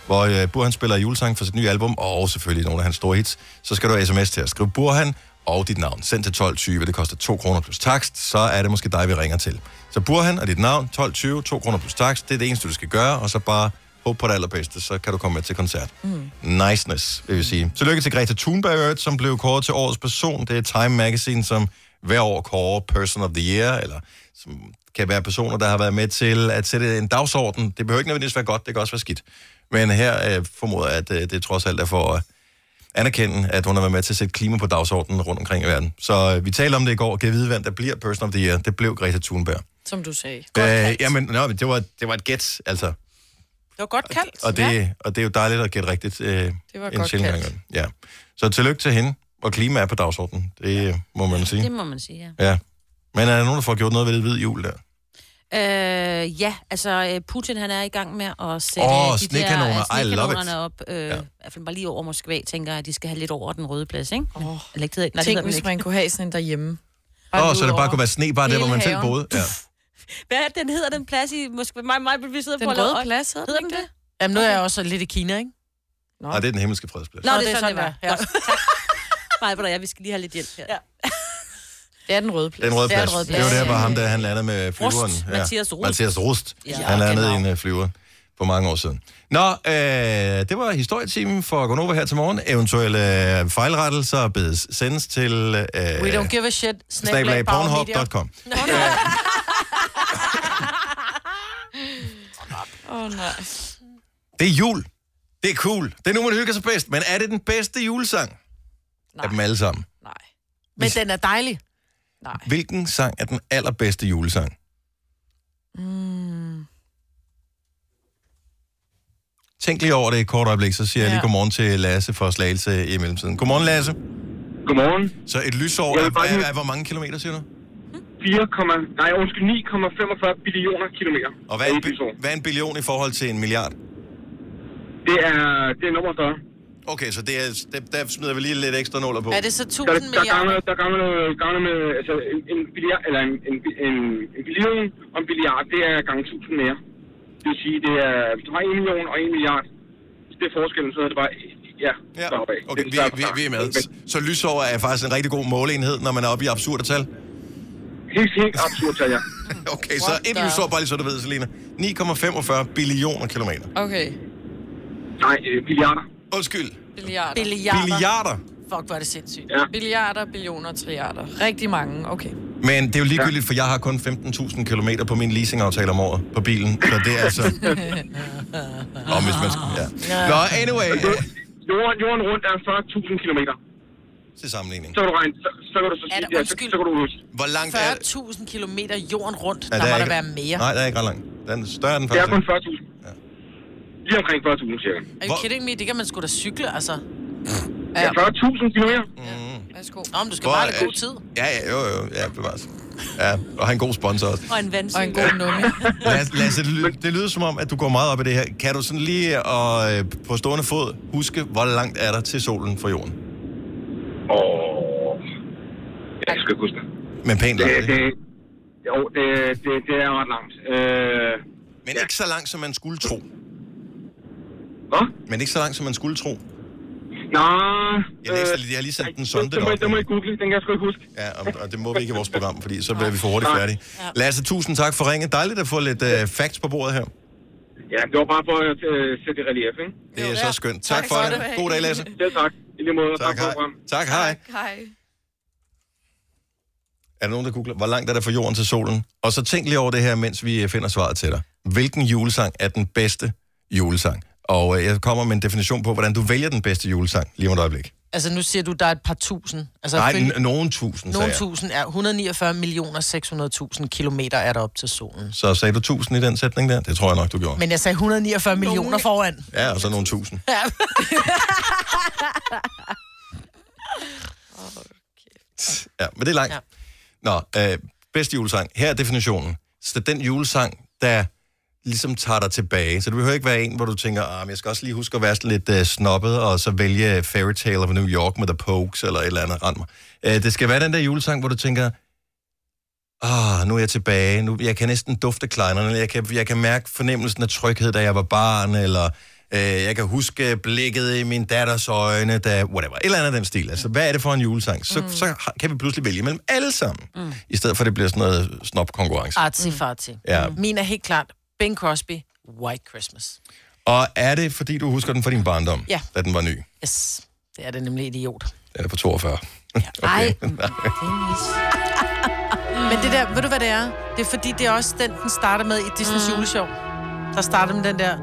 hvor øh, Burhan spiller julesang for sit nye album, og selvfølgelig nogle af hans store hits, så skal du have sms til at skrive Burhan og dit navn. Send til 1220, det koster 2 kroner plus takst, så er det måske dig, vi ringer til. Så Burhan og dit navn, 1220, 2 kroner plus takst, det er det eneste, du skal gøre, og så bare håb på det allerbedste, så kan du komme med til koncert. Mm. Niceness, vil vi sige. Tillykke til Greta Thunberg, i øvrigt, som blev kåret til årets person. Det er Time Magazine, som hver år kårer Person of the Year, eller som kan være personer, der har været med til at sætte en dagsorden. Det behøver ikke nødvendigvis være godt, det kan også være skidt. Men her øh, formoder jeg, at øh, det trods alt er for at anerkende, at hun har været med til at sætte klima på dagsordenen rundt omkring i verden. Så øh, vi talte om det i går. Kan vide, hvem der bliver Person of the Year? Det blev Greta Thunberg.
Som du sagde.
Øh, jamen, nå, men det var, det var et gæt, altså.
Det var godt kaldt.
Og det, ja. og det er jo dejligt at gætte rigtigt. Øh, det
var godt kaldt.
Ja. Så tillykke til hende, og klima er på dagsordenen. Det ja. må man sige.
Det må man sige, ja.
Ja. Men er der nogen, der får gjort noget ved det hvide jul der?
Øh, ja, altså øh, Putin han er i gang med at sætte
Åh,
øh, de der
snekanoner.
øh,
I love it.
snekanonerne op. Øh, ja.
Ja.
I hvert fald bare lige over Moskva, tænker jeg, at de skal have lidt over den røde plads, ikke? Oh. Eller ikke, det hedder, nej, det
Tænk,
hedder den
hvis
ikke.
man kunne have sådan en derhjemme.
Åh, oh, så
udover.
det bare kunne være sne, bare der,
Hele
hvor man selv
haven.
boede. Ja.
Hvad er det, den hedder, den plads i Moskva? Mig, mig, vi sidder
Den
på
røde plads, hedder
Hedder
den ikke
den
det?
Jamen, nu er jeg også lidt i Kina, ikke?
Nej, det er den himmelske fredsplads.
Nå,
Nå,
det, er sådan, det var.
Ja.
Ja. Godt, tak. Mig, og jeg, vi skal lige have lidt hjælp her. Ja.
Det er den røde plads.
Den røde
Det er
plads.
den røde
Det er jo
plads.
der, hvor ham der, han landede med flyveren.
Rust. Mathias Rust.
Mathias Rust.
Ja,
han landede
genau.
i en øh, flyver for mange år siden. Nå, øh, det var historietimen for Gonova her til morgen. Eventuelle øh, fejlrettelser bedes sendes til... Øh,
We don't give a shit.
snabel-a
Snabel-A Bauer Media.
pornhub.com.
Åh, oh, nej.
Det er jul. Det er cool. Det er nu, man hygger sig bedst. Men er det den bedste julesang Nej. af dem alle sammen?
Nej.
Men den er dejlig.
Hvilken sang er den allerbedste julesang? Mm.
Mm.
Tænk lige over det i et kort øjeblik, så siger ja. jeg lige godmorgen til Lasse fra Slagelse i mellemtiden. Godmorgen, Lasse.
Godmorgen.
Så et lysår
Jeg
er,
vil bare
er,
lige-
er, hvor mange kilometer, siger du?
4, nej, undskyld, 9,45 billioner kilometer.
Og hvad er, en,
Det er
bi- hvad er en billion i forhold til en milliard?
Det er, det er nummer større.
Okay, så det er, det, der smider vi lige lidt ekstra nuller på.
Er det så
Der,
1000
der, ganger,
milliarder?
der ganger, ganger med altså, en, en, billiard, eller en, en, en, en billion og en billiard, det er gange 1000 mere. Det vil sige, det er, hvis du har 1 million og 1 milliard, hvis det er forskellen, så er det bare, ja,
Ja,
deroppe af.
okay,
Det
vi,
der
vi, vi er med.
Okay.
Så lysår er faktisk en rigtig god måleenhed, når man er oppe i absurde tal.
Helt, helt absurd, tal, ja.
Okay, så et lysår, bare lige så du ved, Selina. 9,45 billioner kilometer.
Okay.
Nej, øh, billiarder.
Undskyld,
Billiarder.
Billiarder.
billiarder.
Fuck, hvor er det sindssygt.
Billiarder, billioner, triarder. Rigtig mange. Okay.
Men det er jo ligegyldigt, for jeg har kun 15.000 km på min leasingaftale om året på bilen. Så det er altså... Nå, hvis man skal... Ja. Nå, anyway, øh,
Jorden, jorden rundt er 40.000 kilometer.
til sammenligning.
Så kan du regne, så, så kan du så
Er
sige,
det
ja, så,
undskyld?
så kan du huske.
Hvor langt er...
40.000 kilometer jorden rundt,
Ja,
der må
er
der være mere.
Nej, der er ikke ret langt. Den er større end
Det er kun
40.
40.000. Lige omkring 40.000, cirka.
Er you
Hvor-
kidding me? Det kan man sgu da cykle, altså.
Ja. 40.000 kilometer.
Værsgo.
Nå, men du skal
Hvor
bare have
er-
god tid.
Ja, ja, jo, jo, ja, bevares. Ja, og har en god sponsor også.
Og en
Og
vandsyn.
en god nummi.
Lasse, Lasse det, lyder, det lyder som om, at du går meget op i det her. Kan du sådan lige og, øh, på stående fod huske, hvor langt er der til solen fra jorden?
Og... Jeg skal ikke huske det.
Men pænt
det,
langt,
det
ikke?
jo, det, det, det er ret langt. Øh,
Men ikke så langt, som man skulle tro.
hvad?
Men ikke så langt, som man skulle tro.
Nå...
Jeg, læste, lige- jeg har lige sendt en sonde
det, må,
derop.
det må I google, den kan jeg sgu ikke huske.
Ja, og, og det må vi ikke i vores program, fordi så bliver vi for hurtigt færdige. Lasse, tusind tak for ringet. Dejligt at få lidt øh, facts på bordet her.
Ja, det var bare for at øh, sætte i relief, ikke?
Det er så skønt. Tak for det. God dag, Lasse.
Selv tak. I lige måde, og tak,
Tak,
tak for
hej.
programmet.
Tak, hej.
Hej.
Er der nogen, der googler, hvor langt er der fra jorden til solen? Og så tænk lige over det her, mens vi øh, finder svaret til dig. Hvilken julesang er den bedste julesang? Og øh, jeg kommer med en definition på, hvordan du vælger den bedste julesang lige om et øjeblik.
Altså, nu siger du, der er et par tusind. Altså,
Nej,
følge-
n- nogen tusind, sagde
nogle
jeg.
tusind er 149 millioner 600.000 kilometer er der op til solen.
Så sagde du tusind i den sætning der? Det tror jeg nok, du gjorde.
Men jeg sagde 149 millioner foran.
Ja, og så nogle tusind. Ja, men det er langt.
Ja.
Nå, øh, bedste julesang. Her er definitionen. Så det er den julesang, der ligesom tager dig tilbage. Så det behøver ikke være en, hvor du tænker, ah, men jeg skal også lige huske at være sådan lidt uh, snobbet, og så vælge Fairy Tale of New York med The Pokes, eller et eller andet rand mig. Uh, det skal være den der julesang, hvor du tænker, ah, nu er jeg tilbage, nu, jeg kan næsten dufte kleinerne, eller jeg kan, jeg kan mærke fornemmelsen af tryghed, da jeg var barn, eller øh, jeg kan huske blikket i min datters øjne, da, whatever, et eller andet af den stil. Altså, hvad er det for en julesang? Så, mm. så har- kan vi pludselig vælge mellem alle sammen, mm. i stedet for at det bliver sådan noget snop-konkurrence.
Artsy fartsy.
Ja.
Min er helt klart Bing Crosby, White Christmas.
Og er det, fordi du husker den fra din barndom,
Ja.
da den var ny?
Yes, det er det nemlig idiot.
Den er på 42.
Ej,
Men det der, ved du hvad det er? Det er fordi, det er også den, den starter med i Disney's mm. juleshow. Der starter med den der,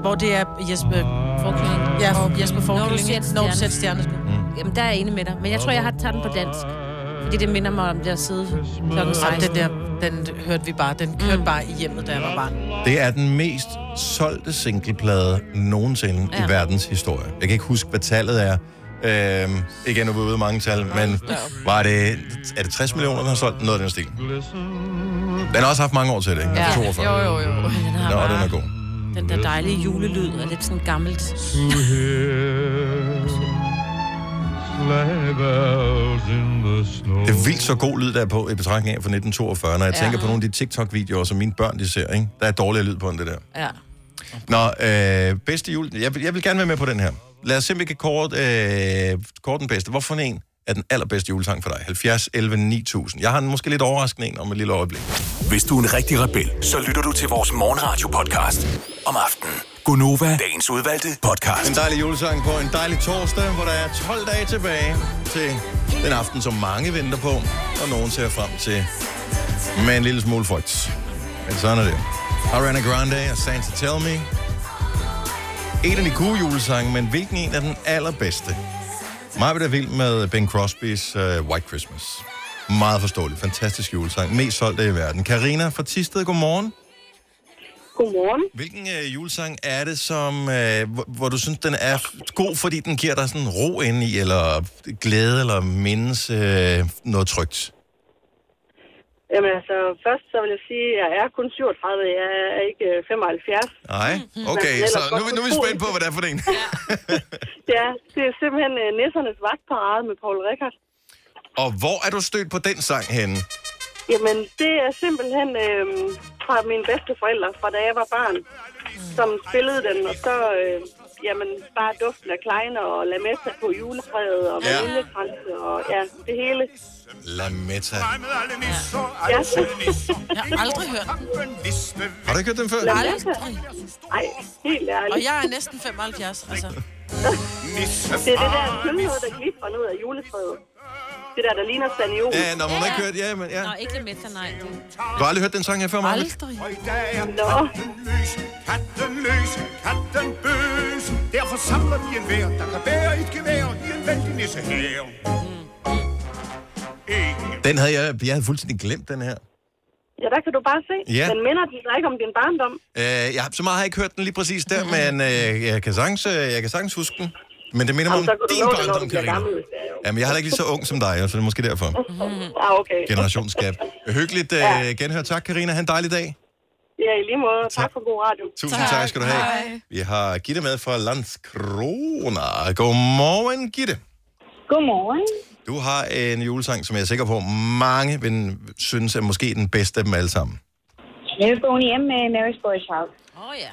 hvor det er Jesper...
forkylling.
Ja, Jesper
Når du
Forkylling.
ser
ikke?
et
Når
stjerne.
du sætter stjerneskud.
Jamen, der er jeg enig med dig. Men jeg tror, jeg har taget den på dansk. Fordi det minder mig om det at sidde klokken
Ej,
16.
den der, den hørte vi bare. Den kørte mm. bare i hjemmet, da jeg var barn.
Det er den mest solgte singleplade nogensinde ja. i verdens historie. Jeg kan ikke huske, hvad tallet er. Øhm, igen, nu er vi ude i mange tal, men var det, er det 60 millioner, der har solgt noget af den stil? Den har også haft mange år til det, ikke? Den er
Ja. Mm.
fra 42.
Jo, jo, jo.
Den har
Nå, den
bare
er god.
den der dejlige julelyd og lidt sådan gammelt.
Det er vildt så god lyd, der er på i betragtning af fra 1942. Når jeg ja. tænker på nogle af de TikTok-videoer, som mine børn de ser, ikke? der er dårligere lyd på end det der.
Ja.
Nå, øh, bedste jul. Jeg vil, jeg vil gerne være med på den her. Lad os se, om vi kan kåre, øh, kåre den bedste. Hvorfor en er den allerbedste julesang for dig? 70, 11, 9000. Jeg har en måske lidt overraskende en om et lille øjeblik.
Hvis du er en rigtig rebel, så lytter du til vores morgenradio-podcast om aftenen. Gunova, dagens udvalgte podcast.
En dejlig julesang på en dejlig torsdag, hvor der er 12 dage tilbage til den aften, som mange venter på, og nogen ser frem til med en lille smule frygt. Men sådan er det. Ariana Grande og Santa Tell Me. En af de gode julesange, men hvilken en er den allerbedste? Mig vil vild med Ben Crosby's uh, White Christmas. Meget forståelig. Fantastisk julesang. Mest solgte i verden. Karina fra Tisted, godmorgen.
Godmorgen.
Hvilken øh, julesang er det, som, øh, hvor, hvor du synes, den er f- god, fordi den giver dig sådan ro ind i, eller glæde, eller mindes øh, noget trygt?
Jamen altså, først så vil jeg sige, at jeg er kun 37, jeg er ikke øh, 75.
Nej?
Mm,
Okay, så nu, er vi- nu er vi spændt på, hvad det er for en.
Det er, det er simpelthen øh, Nissernes Vagtparade med Paul Rickard.
Og hvor er du stødt på den sang henne?
Jamen, det er simpelthen øh, fra mine bedsteforældre, fra da jeg var barn, som spillede den, og så... Øh, jamen, bare duften af kleiner og lametta på juletræet og
Ja.
vaniljekrans og ja, det hele.
La Meta.
Ja.
Jeg har aldrig hørt den.
Har du ikke hørt den før?
Lametta? Ej, helt ærligt.
Og jeg er næsten 75, altså.
Det er det der sølvhåret, der glitrer ned af juletræet. Det der, der ligner saniol.
Ja, når man ikke hørt, ja, men ja.
Nå, ikke lidt med nej. Det-
Du har aldrig hørt den sang her før, Marvind?
Aldrig.
Nå,
Løs, katten løs, katten bøs. Derfor samler vi en hver, der kan bære et gevær i en vældig nisse her. Ikke
Den havde jeg, jeg havde fuldstændig glemt, den her.
ja, der kan du bare se.
Ja.
Den minder den dig ikke om din barndom.
Øh, jeg, har- så meget har jeg ikke hørt den lige præcis der,
Mm.
men øh, jeg, kan sagtens, øh, jeg kan sagtens huske den. Men det minder mig om
Jamen, så kan du
din
nå det, når du
barndom,
bliver
Karina.
gammel. hvis det er jo.
Jamen, jeg er heller ikke lige så ung som dig, jo, så det er måske derfor.
Mhm.
Ah, okay.
Generationsgab. Hyggeligt øh, genhør. Tak, Karina. Ha' en dejlig dag.
Ja, i lige måde. Tak for god radio.
Tusind tak, tak skal du have.
Hej.
Vi har Gitte med fra Landskrona. Godmorgen, Gitte.
Godmorgen.
Du har en julesang, som jeg er sikker på, mange vil synes er måske den bedste af dem alle sammen.
Never going hjem med Mary's Boys House.
Åh oh, ja.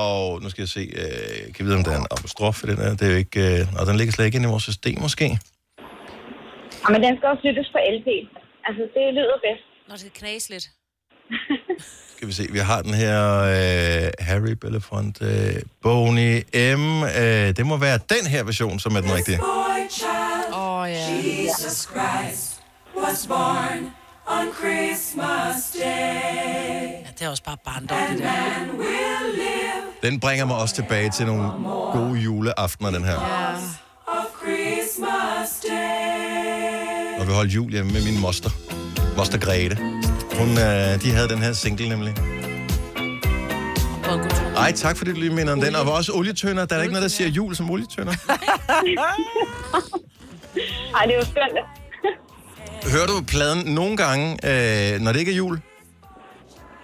Og nu skal jeg se, øh, kan vi vide, om der er en apostrof i den her? Det er jo ikke, øh, og den ligger slet ikke inde i vores system, måske.
Ja, men den skal også lyttes på LP. Altså, det lyder bedst.
Når det skal knas lidt.
Skal vi se, vi har den her øh, Harry Belafonte, øh, Boney M. Øh, det må være den her version, som er den rigtige.
Åh, oh, ja.
Ja, det er også bare barndom, det der.
Den bringer mig også tilbage til nogle gode juleaftener, den her. Når vi holdt jul hjemme med min moster, moster Grete. Hun, øh, de havde den her single nemlig. Ej, tak fordi du lige minder om den. Og var også olietønder. Der er da ikke noget, der siger jul som olietønder.
Ej, det er jo skønt.
Hører du pladen nogle gange, øh, når det ikke er jul?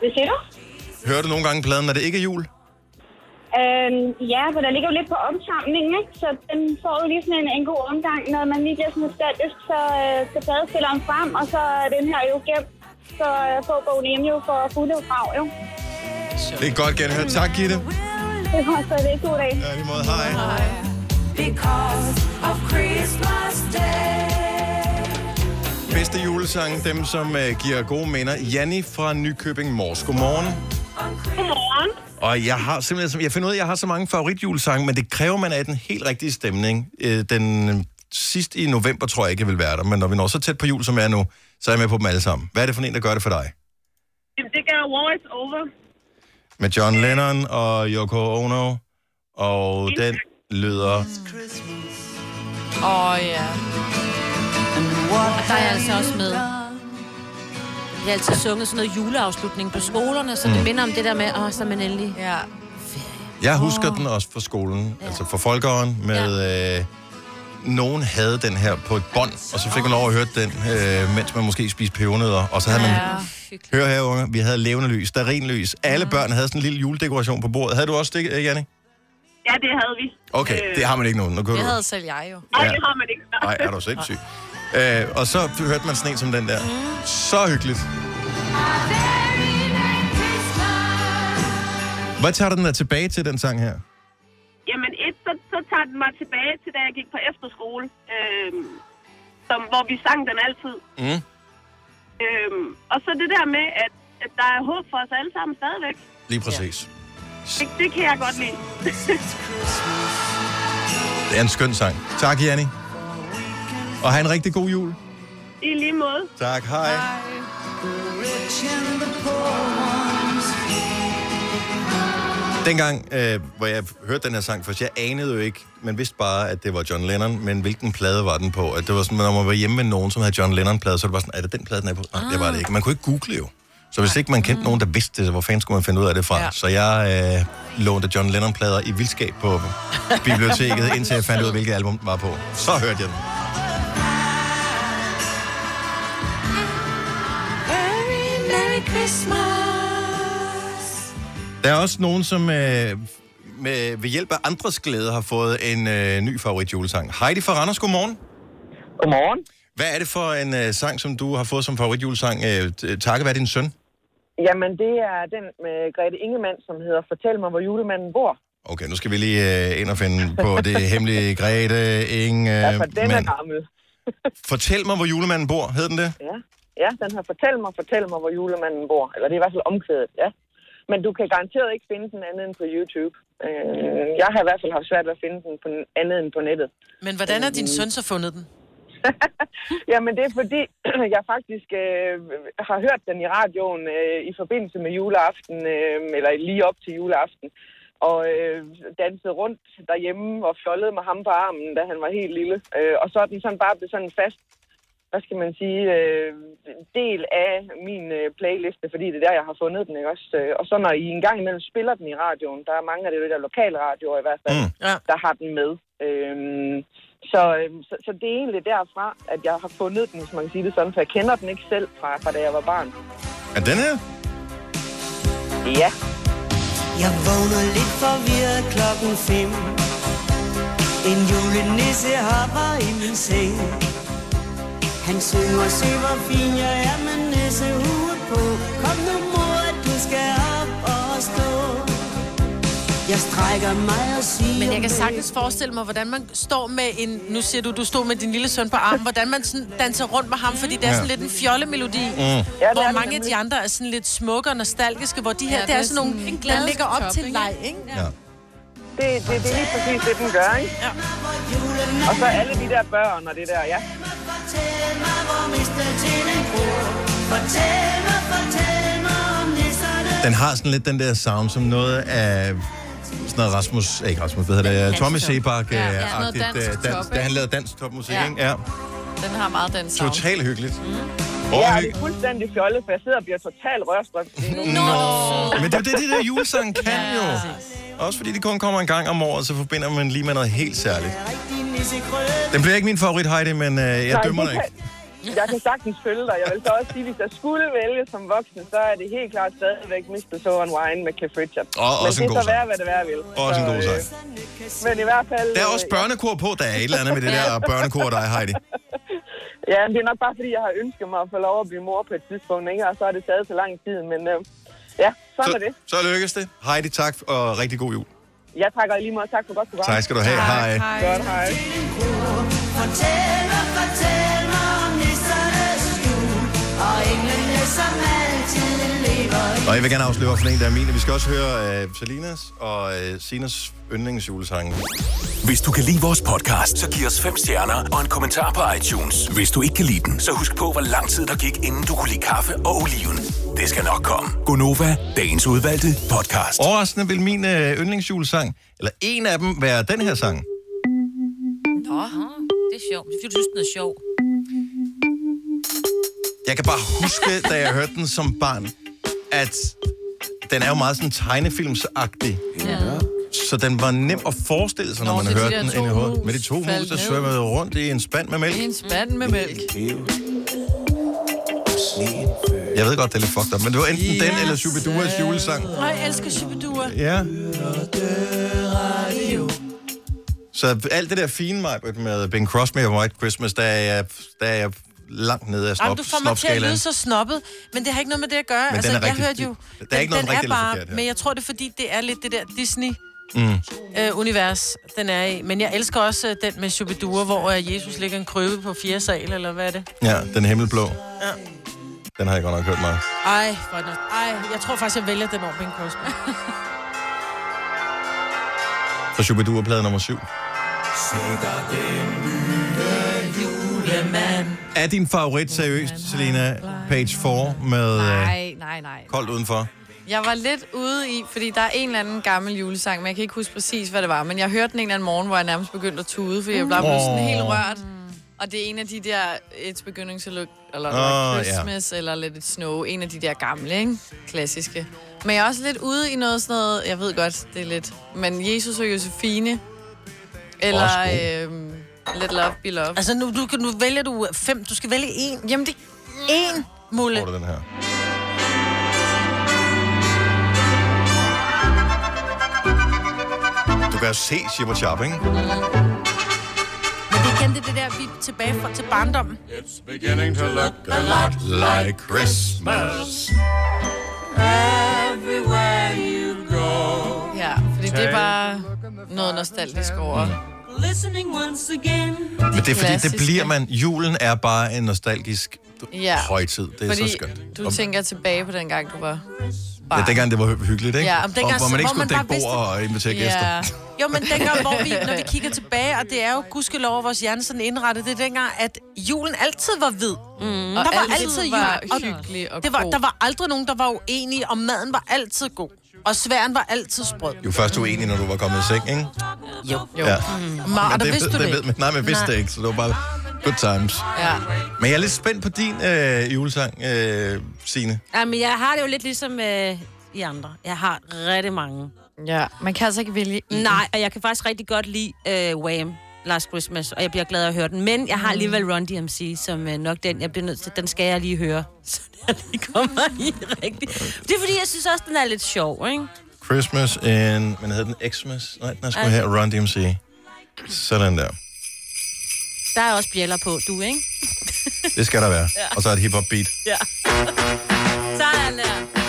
Hvad siger du?
Hører du nogle gange pladen, når det ikke er jul?
Øhm, ja, for der ligger jo lidt på omsamlingen, ikke? Så den får jo lige sådan en, en god omgang. Når man lige bliver sådan nostalgisk, så øh, skal pladespilleren frem, og så er den her jo gemt. Så øh, får bogen hjemme jo for fulde krav, jo.
Det er godt genhørt. Tak, Gitte.
Det var så det god dag.
Ja, i lige måde. Hej. Hej. Bedste julesang, dem som uh, giver gode minder. Janni fra Nykøbing Mors. Godmorgen.
Godmorgen.
Og jeg har simpelthen, så- jeg finder ud af, at jeg har så mange favoritjulesange, men det kræver, man er i den helt rigtige stemning. Øh, Den øh, sidst i november tror jeg ikke, jeg vil være der, men når vi når så tæt på jul, som jeg er nu, så er jeg med på dem alle sammen. Hvad er det for en, der gør det for dig?
Jamen, det gør War is Over.
Med John Lennon og Yoko Ono, og den lyder...
Åh, oh, ja.
Og der er jeg altså også med. Jeg har altid sunget sådan noget juleafslutning på skolerne, så det
Mm.
minder om det der med, åh, oh, så er man endelig.
Ja.
Jeg husker den også fra skolen, altså fra folkeåren, med... Øh, nogen havde den her på et bånd, og så fik man lov at høre den, øh, mens man måske spiste pebernødder, og så havde man...
Hyggeligt.
Hør her, unger, vi havde levende lys, starinlys. Alle børn havde sådan en lille juledekoration på bordet. Havde du også det, øh, Janne?
Ja, det havde vi. Øh.
Okay, det har man ikke nogen. Nu kunne
Det
du...
havde selv jeg jo.
Nej,
Ja.
det har man ikke.
Ej, er du sindssyg. Øh, og så hørte man sådan en som den der. Så hyggeligt. Hvad tager du den der tilbage til, den sang her?
Jamen et, så, så tager den mig tilbage til, da jeg gik på efterskole, øhm, som, hvor vi sang den altid.
Mm.
Øhm, og så det der med, at, at der er håb for os alle sammen stadigvæk.
Lige præcis.
Det, det kan jeg godt lide.
Det er en skøn sang. Tak, Janni. Og have en rigtig god jul.
I lige måde.
Tak, hej. Dengang, øh, hvor jeg hørte den her sang først, jeg anede jo ikke, man vidste bare, at det var John Lennon, men hvilken plade var den på? At det var sådan, når man var hjemme med nogen, som havde John Lennon-plade, så var det bare sådan, er det den plade, den er på? Nej, det var det ikke. Man kunne ikke google jo. Så hvis ikke man kendte nogen, der vidste det, så hvor fanden skulle man finde ud af det fra? Ja.
Ja.
Så jeg øh, lånte John Lennon-plader i vildskab på biblioteket, indtil jeg fandt ud af, hvilket album den var på. Så hørte jeg den. Der er også nogen, som øh, med, ved hjælp af andres glæde har fået en øh, ny favorit julesang. Heidi fra Randers, godmorgen.
Godmorgen.
Hvad er det for en øh, sang, som du har fået som favorit julesang, øh, t- takket være din søn?
Jamen, det er den med Grete Ingemann, som hedder Fortæl mig, hvor julemanden bor.
Okay, nu skal vi lige øh, ind og finde på det hemmelige Grete Inge.
Ja, for den er
mand.
gammel.
Fortæl mig, hvor julemanden bor, hed den det?
Ja. ja, den har Fortæl mig, fortæl mig, hvor julemanden bor. Eller det er i hvert fald omkvædet, ja. Men du kan garanteret ikke finde den andet end på YouTube. Øh, jeg har i hvert fald haft svært ved at finde den på n- andet end på nettet.
Men hvordan har din søn så fundet den?
Jamen, det er fordi, jeg faktisk øh, har hørt den i radioen øh, i forbindelse med juleaften, øh, eller lige op til juleaften, og øh, dansede rundt derhjemme og fjollede med ham på armen, da han var helt lille. Øh, og så er den sådan bare blevet sådan en fast, hvad skal man sige, øh, del af min øh, playliste, fordi det er der, jeg har fundet den, ikke også? Øh, Og så når I en gang imellem spiller den i radioen, der er mange af det der lokale radioer i hvert fald,
Mm.
der har den med. Øhm, Så, øh, så, så det er egentlig derfra, at jeg har fundet den, hvis man kan sige det sådan, for jeg kender den ikke selv fra, fra da jeg var barn.
Er den her?
Ja.
Jeg vågner lidt forvirret klokken fem En julenisse hopper i min seng Han synger, se hvor fin jeg er med nissehue på Kom nu mor, du skal op og stå Jeg strækker mig og siger
Men jeg kan sagtens forestille mig, hvordan man står med en... Nu siger du, du stod med din lille søn på armen. Hvordan man sådan danser rundt med ham, fordi det er sådan
Ja.
lidt en fjollemelodi. Mm.
Ja, det er
Hvor
det
mange af
nemlig.
de andre er sådan lidt smukke og nostalgiske, hvor de her,
Ja,
ja, det er sådan nogle,
en
der ligger op
glædestop,
til en
ikke?
leg, ikke?
Ja.
Det, det, det er lige præcis det, den gør, ikke?
Ja.
Og så alle de der børn og det der, ja.
Fortæl mig, hvor mister tinden gror Fortæl mig, fortæl mig om nisserne
Den har sådan lidt den der sound, som noget af sådan noget Rasmus, eh, ikke Rasmus, hvad hedder det, Tommy Sebak, øh, ja,
ja, sådan noget
ja,
dansk
dans,
top,
da han
ikke?
lavede dansk topmusik, ja.
Ja.
ikke? Ja,
Den har meget den sound.
totalt hyggeligt. Mm.
Ja,
Og
og det er fuldstændig fjollet, for jeg sidder og bliver totalt rørstrømt lige nu.
Nå. Men det er jo det, det der julesang kan ja. jo. Også fordi det kun kommer en gang om året, så forbinder man lige med noget helt særligt.
Rigtig nissegrød
Den bliver ikke min favorit, Heidi, men øh, jeg
Nej,
dømmer
det
dig ikke.
kan- Jeg kan sagtens følge dig. Jeg vil så også sige, hvis jeg skulle vælge som voksen, så er det helt klart stadigvæk Mr. So and Wine med Cliff Richard.
Og
Men
også
det
en
er
god
så være,
sang.
hvad det være vil.
Også en
Så,
god
øh,
sang.
Men i hvert fald...
Der er også
øh,
børnekor på, der er et eller andet med det der børnekor og dig, Heidi.
Ja, men det er nok bare, fordi jeg har ønsket mig at få lov at blive mor på et tidspunkt, ikke? Og så har det taget så lang tid, men øh, ja, sådan er
Så,
det.
så lykkes det. Heidi, tak, og rigtig god jul.
Jeg takker i lige meget. Tak for godt program.
Tak skal du have. Hej.
Godt, hej.
Fortæl mig, fortæl mig om nissernes jul Og englene, som altid lever i
Og jeg vil gerne afsløre, hvorfor en der er min. Vi skal også høre øh, Salinas og øh, Sinas yndlingsjulesange.
Hvis du kan lide vores podcast, så giv os fem stjerner og en kommentar på iTunes. Hvis du ikke kan lide den, så husk på, hvor lang tid der gik, inden du kunne lide kaffe og oliven. Det skal nok komme. Gonova, dagens udvalgte podcast.
Overraskende vil min øh, yndlingsjulesang, eller en af dem, være den her sang.
Ah, Det er sjovt. Det er fordi, du synes, den er sjov.
Jeg kan bare huske, da jeg hørte den som barn, at den er jo meget sådan tegnefilmsagtig.
Ja.
Så den var nem at forestille sig, når
Nå,
man
så de
hørte
der
den
to
ind i hovedet.
mus
Med de to mus,
faldt
der
ned.
svømmede rundt i en spand med mælk.
En spand med mælk.
Jeg ved godt, det er lidt fucked up, men det var enten den eller Shubiduas julesang.
Og jeg elsker Shubidua.
Ja. Så alt det der fine mig med Bing Crosby og White Christmas, der er jeg, der er jeg langt nede af
Jamen,
snop,
du får mig til at
snopskalaen.
lyde så snobbet, men det har ikke noget med det at gøre.
den
altså,
er
jeg
rigtig-
hørte jo...
der er ikke noget
den
rigtigt
er
eller
bare,
forkert her.
Men jeg tror, det er fordi, det er lidt det der
Mm.
Disney-univers, Øh, den er i. Men jeg elsker også øh, den med Shubidua, hvor øh, Jesus ligger en krøbe på fjerde sal, eller hvad er det?
Ja, den himmelblå. Ja. Den har jeg godt nok hørt meget.
Ej, for den er- Ej, jeg tror faktisk, jeg vælger den over Bing Crosby.
Så Shubidua er plade nummer syv. Er din favorit seriøst, Selina? Page 4 med øh,
Nej, nej, nej.
Koldt Udenfor.
Jeg var lidt ude i, fordi der er en eller anden gammel julesang, men jeg kan ikke huske præcis, hvad det var. Men jeg hørte den en eller anden morgen, hvor jeg nærmest begyndte at tude, fordi jeg blev blevet sådan
Mm. Åh.
helt rørt. Og det er en af de der It's Beginning to Look, eller
Åh,
oh, Christmas, yeah. eller Let It Snow. En af de der gamle, ikke? Klassiske. Men jeg er også lidt ude i noget sådan noget, jeg ved godt, det er lidt, men Jesus og Josefine, eller
Også
øhm, Let Love Be Love. Altså,
altså, nu, du, kan- nu vælger du øh, fem. Du skal vælge en.
jamen det...
En, Mulle.
Får du den her? Du kan jo se Shibba Chop, ikke?
Men vi kendte det der, vi er tilbage fra, til barndommen.
Like Christmas.
Ja, fordi det er bare noget nostalgisk over.
Listening once again
Mm. Men det er fordi, det
Klassiske.
bliver man... Julen er bare en nostalgisk
Ja.
højtid. Det er
Fordi
så skønt.
du
Og-
tænker tilbage på den gang, du var
Ja,
barn.
dengang det var hy- hyggeligt, ikke?
Ja,
og
om
Ah. dengang,
og hvor man ikke
hvor
skulle
man
dække
bare vidste-
bord og invitere gæster.
Ja.
Jo, men dengang, hvor vi, når vi kigger tilbage, og det er jo gudskelov, at vores hjerne sådan indrettet, det er dengang, at julen altid var hvid. Mm.
Og
Der var
alt
altid jul.
var
Og
hyggelig og
Det var,
god.
der var aldrig nogen, der var uenige, og maden var altid god. Og sværen var altid sprød.
Jo først uenig, når du var kommet i seng, ikke?
Jo.
Jo.
Ja.
Ma, og der
det,
vidste du
det,
det.
ved man. Nej, men jeg vidste
Nej.
det ikke, så det var bare good times.
Ja.
Men jeg er lidt spændt på din øh, julesang, øh, Signe.
Jamen, jeg har det jo lidt ligesom øh, i andre. Jeg har rigtig mange.
ja. Man kan altså ikke vælge en.
Nej, og jeg kan faktisk rigtig godt lide øh, Wham. Last Christmas, og jeg bliver glad at høre den. Men
Mm.
jeg har alligevel Run DMC, som er nok den, jeg bliver nødt til. Den skal jeg lige høre, så jeg lige kommer i rigtigt. Det er fordi, jeg synes også, den er lidt sjov, ikke?
Christmas in... Men hedder den Xmas? Nej, den er sgu her. Run DMC. Sådan der.
Der er også bjæller på, du, ikke?
Det skal der være.
Ja.
Og så et hip-hop beat.
Ja. Sådan der.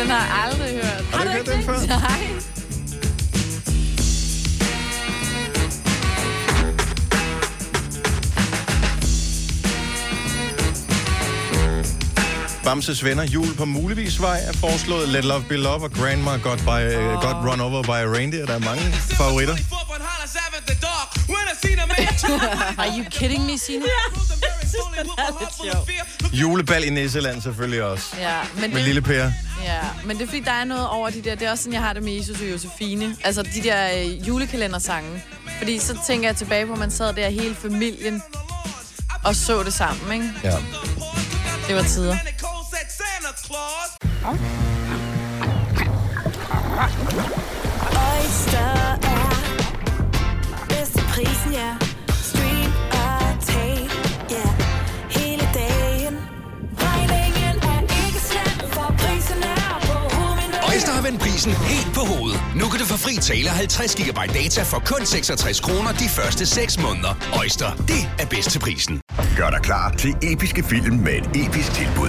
Den har jeg aldrig hørt.
Har du ikke hørt den før?
Nej.
Bamses venner, jul på muligvis vej, er foreslået Let Love Be Love og Grandma Got, by, uh, got Run Over by a Reindeer. Der er mange favoritter.
Are you kidding me, Signe?
Julebal i Nisseland selvfølgelig også.
Ja, men
Med
det-
Lille Per.
Ja, men det er fordi, der er noget over de der. Det er også sådan, jeg har det med Jesus og Josefine. Altså de der øh, julekalendersange. Fordi så tænker jeg tilbage på, at man sad der hele familien og så det sammen, ikke?
Ja.
Det var tider.
Oyster er bedst til prisen, ja. Stream og tag, ja. Hele dagen. Regningen er ikke slem, for prisen er på hovedet.
Øjster har vendt prisen helt på hovedet. Nu kan du få fri tale 50 GB data for kun 66 kroner de første 6 måneder. Øjster, det er bedst til prisen.
Gør dig klar til episke film med et episk tilbud.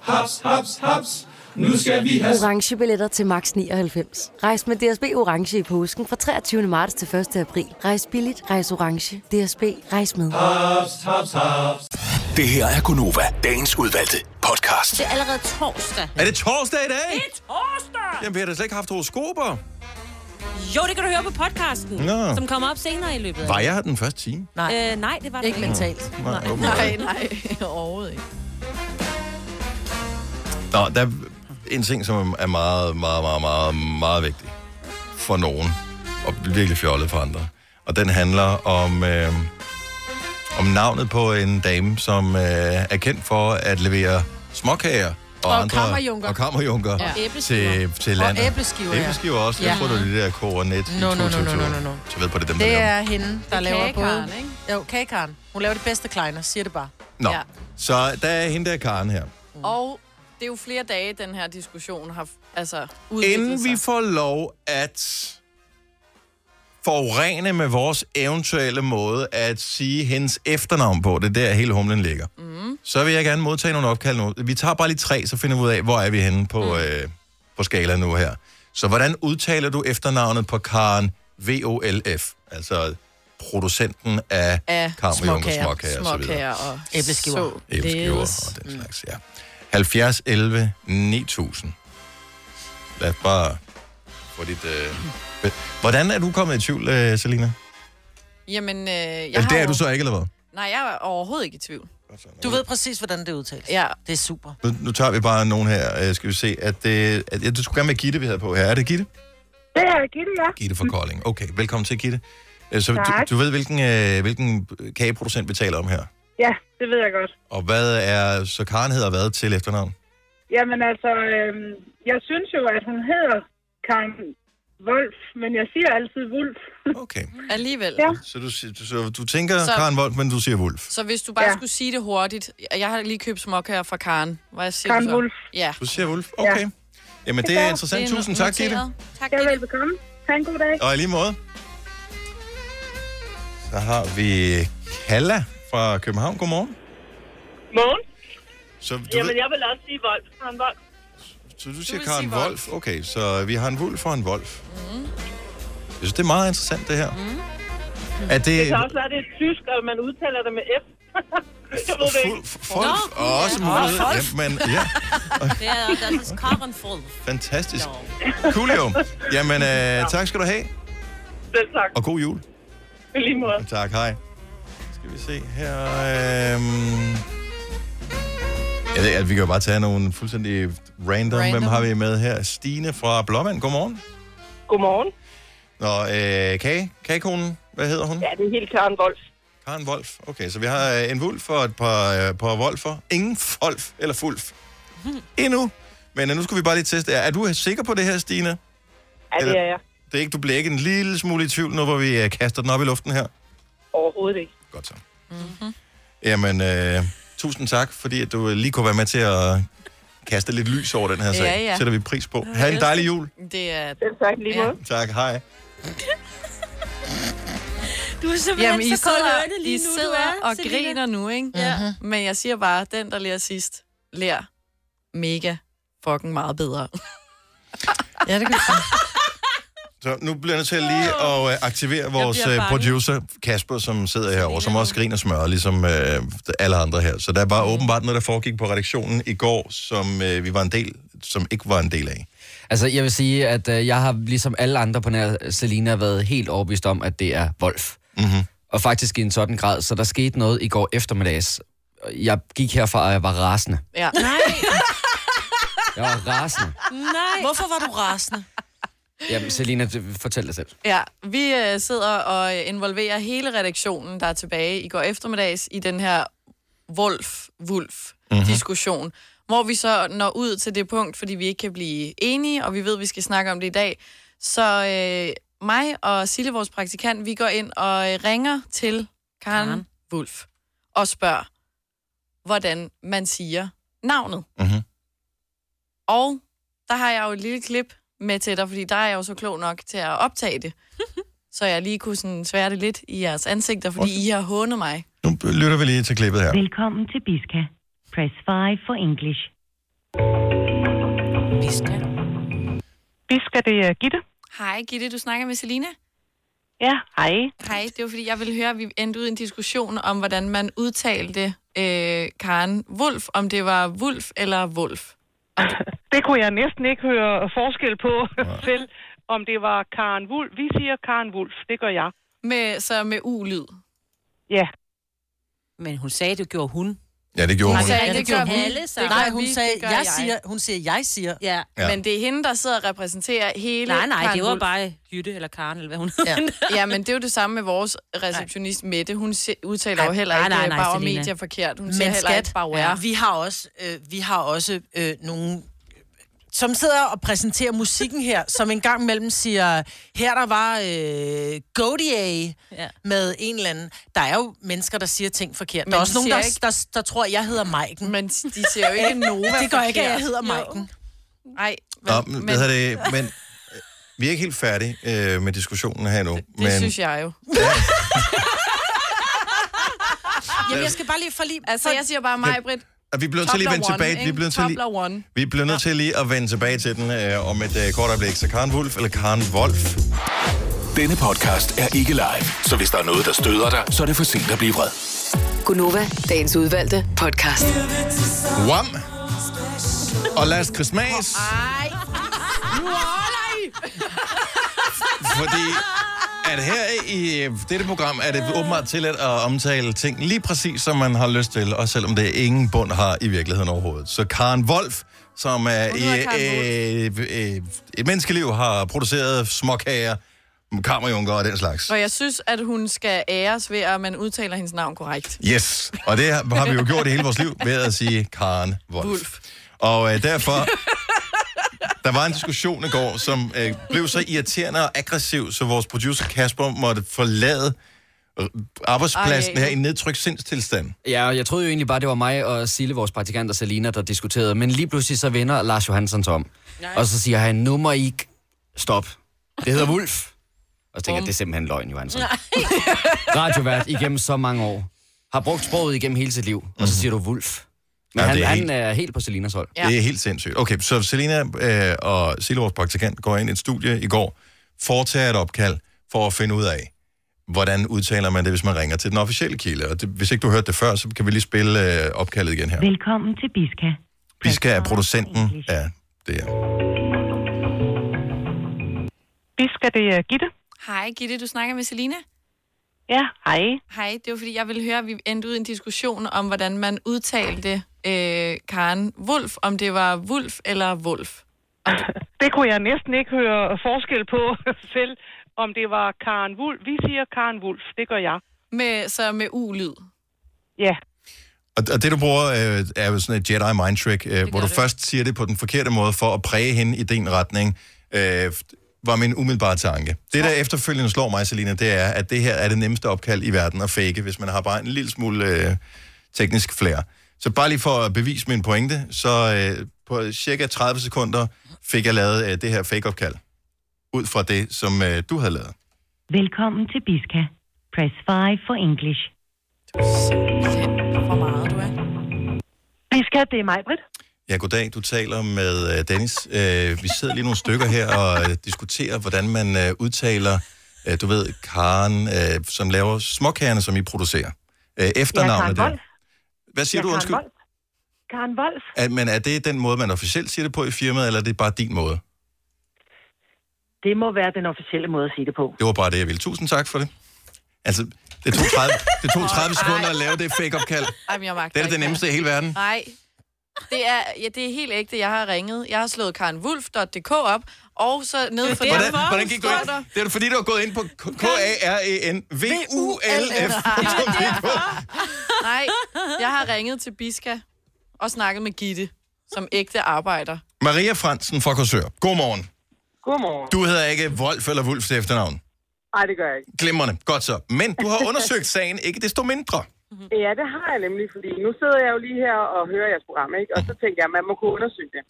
Haps, haps, haps. Nu skal vi have...
orange billetter til max 99. Rejs med DSB orange i påsken fra 23. marts til 1. april. Rejs billigt, rejs orange. DSB rejs med.
Hops, hops, hops. Det her er Gunova, dagens udvalgte podcast.
Det er allerede torsdag.
Er det torsdag i dag?
Det er torsdag!
Jamen, vi har da slet ikke haft horoskoper.
Jo, det kan du høre på podcasten,
Nå.
som kommer op senere i løbet af
Var jeg her den første time?
Nej. Øh, nej, det var
Ikke mentalt.
Nej, åbenbart
Nej,
ikke.
nej, overhovedet ikke.
Nå, der er en ting, som er meget, meget, meget, meget, meget vigtig for nogen, og virkelig fjollet for andre. Og den handler om, øh, om navnet på en dame, som øh, er kendt for at levere småkager og,
Og
andre,
kammerjunker.
Og kammerjunker
Ja.
til,
Æbleskiver.
til
Og
landet.
æbleskiver, ja.
æbleskiver også. Jeg
Ja.
tror, du det der koronet.
No, no, no, no, no, no, no.
Så ved på det, dem, der
Det
laver
er hende, der
er
laver
kagekaren,
både... Jo, kagekaren. Hun laver det bedste kleiner, siger det bare.
Nå,
Ja.
så der er hende der Karen her.
Og det er jo flere dage, den her diskussion har altså, udviklet
Inden
sig.
vi får lov at forurene med vores eventuelle måde at sige hendes efternavn på, det er der hele humlen ligger,
Mhm.
mm. så vil jeg gerne modtage nogle opkald nu. Vi tager bare lige tre, så finder vi ud af, hvor er vi henne
Mhm.
på, mm. øh, på skala nu her. Så hvordan udtaler du efternavnet på Karen VOLF? Altså producenten af,
af
kammerjunker, småkager,
småkager,
og så videre.
småkager og
Æbleskiver.
så-
Æbleskiver og
Mm.
den slags, ja. 70, 11, 9000. Lad os bare få dit... Øh...
Mm.
be- Hvordan er du kommet i tvivl, øh, Selina?
Jamen, øh, jeg
Eller det
har
er
jo-
du så ikke, eller hvad?
Nej, jeg er overhovedet ikke i tvivl.
Du ved præcis, hvordan det udtales.
Ja.
Det er super.
Nu, nu tager vi bare nogen her, øh, skal vi se. At, øh, at, ja, du skulle gerne være Gitte, vi havde på her. Er det Gitte?
Det er Gitte, ja.
Gitte
Mm.
fra Kolding. Okay, velkommen til, Gitte. Øh, Så
Tak.
du, du ved, hvilken, øh, hvilken kageproducent vi taler om her.
Ja, det ved jeg godt.
Og hvad er... Så Karen hedder hvad til efternavn?
Jamen altså, øhm, jeg synes jo, at hun hedder Karen Wolf, men jeg siger altid Wolf.
Okay.
Alligevel.
Ja.
Så du, si- du- så du tænker
Så-
så... Karen Wolf, men du siger Wolf.
Så hvis du bare
Ja.
ja. skulle sige det hurtigt. Jeg har lige købt småkager fra Karen. Hvad siger
Karen
du så?
Wulff.
Ja.
Du siger Wolf. Okay. Jamen, det er interessant. Tusind tak, Gitte.
Tak,
Ja, velbekomme.
Ha' en god dag.
Og i lige måde. Så har vi Kalla fra København. Godmorgen.
Morgen.
Så du,
Jamen,
ved,
jeg vil også sige Wolf. Han Wolf.
så du siger Karen Wolf. Okay, så vi har en vulf og en wolf. Mm. Jeg synes, det er meget interessant, det her. Mm. Er det,
Det kan også være, det er tysk, og man udtaler det med F. jeg ved det ikke.
Wolf og også mulighed? Ja, men, ja,
Det er også Karen Fuld.
fantastisk. Coolio. Jamen, øh, tak skal du have,
Selv tak.
og god jul.
I lige måde.
Tak, hej. Skal vi se her... Øhm... Jeg ved, at vi kan jo bare tage nogle fuldstændig random. random.
Random.
Hvem har vi med her? Stine fra Blåvand. Godmorgen.
Godmorgen.
Nå, øh, kage, kagekonen, hvad hedder hun?
Ja, det er helt Karen Wolf.
Karen Wolf. Okay, så vi har øh, en vulf og et par, øh, par wolfer. Ingen folf eller fulf. Endnu. Men øh, nu skal vi bare lige teste. Er, er du sikker på det her, Stine?
Ja, det
Eller-
er jeg.
Det er ikke, du bliver ikke en lille smule i tvivl nu, hvor vi øh, kaster den op i luften her?
Overhovedet ikke.
Godt så. Jamen, øh, tusind tak, fordi at du øh, lige kunne være med til at kaste lidt lys over den her sag.
Ja, ja.
Sætter vi pris på. Ha' en dejlig jul.
Det er...
Selv tak lige
måde.
Tak, hej.
Du er simpelthen så kold i ørerne lige
I
nu, du
sidder
er,
og
Selina.
griner nu, ikke?
Ja.
Men jeg siger bare, at den, der lærer sidst, lærer mega fucking meget bedre. ja, det kan
Så nu bliver jeg nødt til lige at øh, aktivere vores
bliver
øh,
bange.
producer, Kasper, som sidder herovre, som også griner og smører, ligesom øh, alle andre her. Så der var
Mm.
åbenbart noget, der foregik på redaktionen i går, som øh, vi var en del, som ikke var en del af.
Altså, jeg vil sige, at øh, jeg har ligesom alle andre på nær Selina været helt overbevist om, at det er Wolf.
Mm-hmm.
Og faktisk i en sådan grad, så der skete noget i går eftermiddags. Jeg gik herfra, og jeg var rasende.
Ja.
Nej,
Jeg var rasende.
nej. Hvorfor var du rasende?
Jamen, Selina, det- fortæl dig selv.
Ja, vi øh, sidder og øh, involverer hele redaktionen, der er tilbage i går eftermiddags, i den her Wolf-Wulf-diskussion, hvor vi så når ud til det punkt, fordi vi ikke kan blive enige, og vi ved, at vi skal snakke om det i dag. Så øh, mig og Sille, vores praktikant, vi går ind og øh, ringer til Karen, Karen Wolf og spørger, hvordan man siger navnet.
Mhm.
Og der har jeg jo et lille klip med til dig, fordi der er jeg jo så klog nok til at optage det. så jeg lige kunne sådan svære det lidt i jeres ansigter, fordi I har hånet mig.
Nu lytter vi lige til klippet her.
Velkommen til Biska. Press 5 for English. Biska. Biska, det er Gitte.
Hej Gitte, du snakker med Selina.
Ja, hej.
Hej, det var fordi, jeg ville høre, at vi endte ud i en diskussion om, hvordan man udtalte øh, Karen Wolf, om det var Wolf eller Wolf.
Det kunne jeg næsten ikke høre forskel på selv, om det var Karen Wulf. Vi siger Karen Wulf, det gør jeg.
Med, så med ulyd.
Ja.
Men hun sagde, det gjorde hun.
Ja, det gjorde hun.
sagde, det gør hun.
Alle sammen.
Mm, Det gør
Nej, hun
vi,
sagde,
det gør
jeg
jeg.
siger, hun siger, jeg siger.
Ja.
Ja.
Men det er hende, der sidder og repræsenterer hele
Nej, nej,
Karen
det var
Wulff.
bare Jytte eller Karen, eller hvad hun
Ja. ja, men det er jo det samme med vores receptionist Mette. Hun se- udtaler jo
Ej,
heller
nej,
ikke
nej, nej,
bare
Selina.
medier forkert. Hun
Men
siger heller
skat,
ikke bare
ja.
ja.
vi har også, øh, vi har også øh, nogle som sidder og præsenterer musikken her, som en gang imellem siger, her der var øh, Godier ja. med en eller anden. Der er jo mennesker, der siger ting forkert. Men der
Men
er også
de
nogen,
siger
der,
ikke-
der, der, der tror, at jeg hedder Maiken.
Men de siger jo ikke Nova
Det gør ikke, at jeg
forkert.
hedder
Jo.
Maiken.
Nej,
Nå, men, hvad hedder det, men øh, vi er ikke helt færdige øh, med diskussionen her endnu. Det,
det
men,
synes jeg jo.
Jamen, jeg skal bare lige forlige...
Altså, jeg siger bare mig, Britt.
Og vi bliver nødt til lige at vende tilbage. Vi bliver nødt til lige,
Tobler one.
vi bliver nødt til lige at vende tilbage til den øh, om et øh, kort øjeblik. Så Karen Wolf eller Karen Wolf?
Denne podcast er ikke live, så hvis der er noget, der støder dig, så er det for sent at blive vred.
Gunova, dagens udvalgte podcast.
Wham! Og Last Christmas,
Ej. Nu holder I.
fordi at her i øh, dette program er det åbenbart tilladt at omtale ting lige præcis, som man har lyst til, og selvom det ingen bund har i virkeligheden overhovedet. Så Karen Wolf, som er i øh, øh, et menneskeliv, har produceret småkager, kammerjunker og den slags.
Og jeg synes, at hun skal æres ved, at man udtaler hendes navn korrekt.
Yes, og det har vi jo gjort i hele vores liv ved at sige Karen Wolf. Wolf. Og øh, derfor, der var en diskussion i går, som øh, blev så irriterende og aggressiv, så vores producer Kasper måtte forlade øh, arbejdspladsen
Ej.
her i nedtrykt sindstilstand.
Ja, og jeg troede jo egentlig bare, det var mig og Sille, vores praktikant og Selina, der diskuterede. Men lige pludselig så vender Lars Johansson sig om. Og så siger han, nu må I ikke stoppe.
Det hedder Wulf. Og så tænker jeg, det er simpelthen løgn, Johansson.
Radiovært igennem så mange år. Har brugt sproget igennem hele sit liv. Og så siger du Wulf. Men
Mhm. Ja,
han,
det er
er,
helt-
han er helt på Selinas hold.
Ja. Det er helt sindssygt. Okay, så Selina øh, og Sille, vores praktikant, går ind i et studie i går, foretager et opkald for at finde ud af, hvordan udtaler man det, hvis man ringer til den officielle kilde. Og det, hvis ikke du hørte det før, så kan vi lige spille øh, opkaldet igen her.
Velkommen til Biska.
Biska er producenten af det her.
Biska, det er Gitte.
Hej Gitte, du snakker med Selina.
Ja, hej.
Hej, det var fordi, jeg ville høre, at vi endte ud i en diskussion om, hvordan man udtalte øh, Karen Wolf, om det var Wolf eller Wolf.
Det kunne jeg næsten ikke høre forskel på selv, om det var Karen Wulf. Vi siger Karen Wulf, det gør jeg.
Med, så med ulyd.
Ja.
Og, og det, du bruger, øh, er jo sådan et Jedi mind trick, øh, hvor du det. først siger det på den forkerte måde for at præge hende i din retning, øh, var min umiddelbare tanke. Det, der efterfølgende slår mig, Selina, det er, at det her er det nemmeste opkald i verden at fake, hvis man har bare en lille smule øh, teknisk flair. Så bare lige for at bevise min pointe, så øh, på cirka 30 sekunder fik jeg lavet øh, det her fake-opkald, ud fra det, som øh, du havde lavet.
Velkommen til Biska. Press 5 for English.
Hvor meget du er.
Biska, det er mig, Britt.
Ja, goddag. Du taler med øh, Dennis. Øh, vi sidder lige nogle stykker her og øh, diskuterer, hvordan man øh, udtaler, øh, du ved, Karen, øh, som laver småkagerne, som I producerer. Øh, efternavnet
ja,
der. Hvad siger du, undskyld?
Karen Wolf.
Er, men er det den måde, man officielt siger det på i firmaet, eller er det bare din måde?
Det må være den officielle måde at sige det på.
Det var bare det, jeg ville. Tusind tak for det. Altså, det tog 30, det tog 30 sekunder at lave det fake-opkald.
Ej, men jeg magter
Det er da det
ikke
nemmeste i hele verden.
Nej. Det er, ja, det er helt ægte. Jeg har ringet. Jeg har slået karenwulf.dk op, og så nede for
Hvordan, hvordan gik du ind? Det er fordi, du har gået ind på E K-A-R-E-N-V-U-L-F.
Nej, jeg har ringet til Biska og snakket med Gitte, som ægte arbejder.
Maria Fransen fra Korsør. Godmorgen.
Godmorgen.
Du hedder ikke Wolf eller Wulf til efternavn.
Nej, det gør jeg ikke.
Glimrende. Godt så. Men du har undersøgt sagen, ikke desto mindre.
Ja, det har jeg nemlig, fordi nu sidder jeg jo lige her og hører jeres program, ikke? og så
Mm-hmm.
tænkte jeg, at man må kunne undersøge det.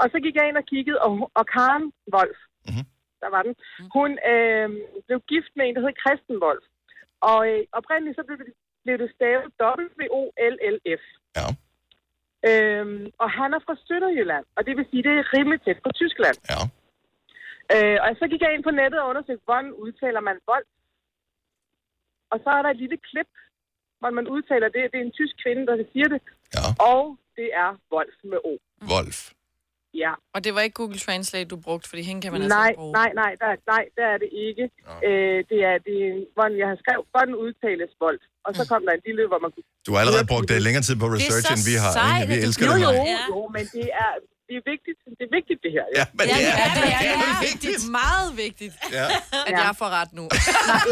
Og så gik jeg ind og kiggede, og, og Karen Wolf, mm-hmm. der var den,
Mm-hmm.
hun øh, blev gift med en, der hed Christen Wolf. Og øh, oprindeligt så blev det, blev det stavet W-O-L-L-F.
Ja.
Øhm, og han er fra Sønderjylland, og det vil sige, det er rimelig tæt på Tyskland.
Ja.
Øh, og så gik jeg ind på nettet og undersøgte, hvordan udtaler man Wolf. Og så er der et lille klip hvordan man udtaler det. Det er en tysk kvinde, der siger det.
Ja.
Og det er Wolf med O.
Wolf.
Ja.
Og det var ikke Google Translate, du brugte, fordi hende kan man altså
nej,
ikke bruge.
nej, nej, der, nej, der er det ikke. Øh, det er, det er, hvordan jeg har skrevet, hvordan udtales Wolf. Og så kom der en lille, hvor man kunne...
Du har allerede brugt uh, længere tid på research, end vi har. ikke? Vi elsker
jo,
det.
jo,
Maria.
jo, jo, men det er, det er vigtigt, det er vigtigt det her.
Ja, men det er-
Ja, det er, det er vigtigt. Meget vigtigt,
Ja.
at
Ja.
jeg får ret nu.
Nej,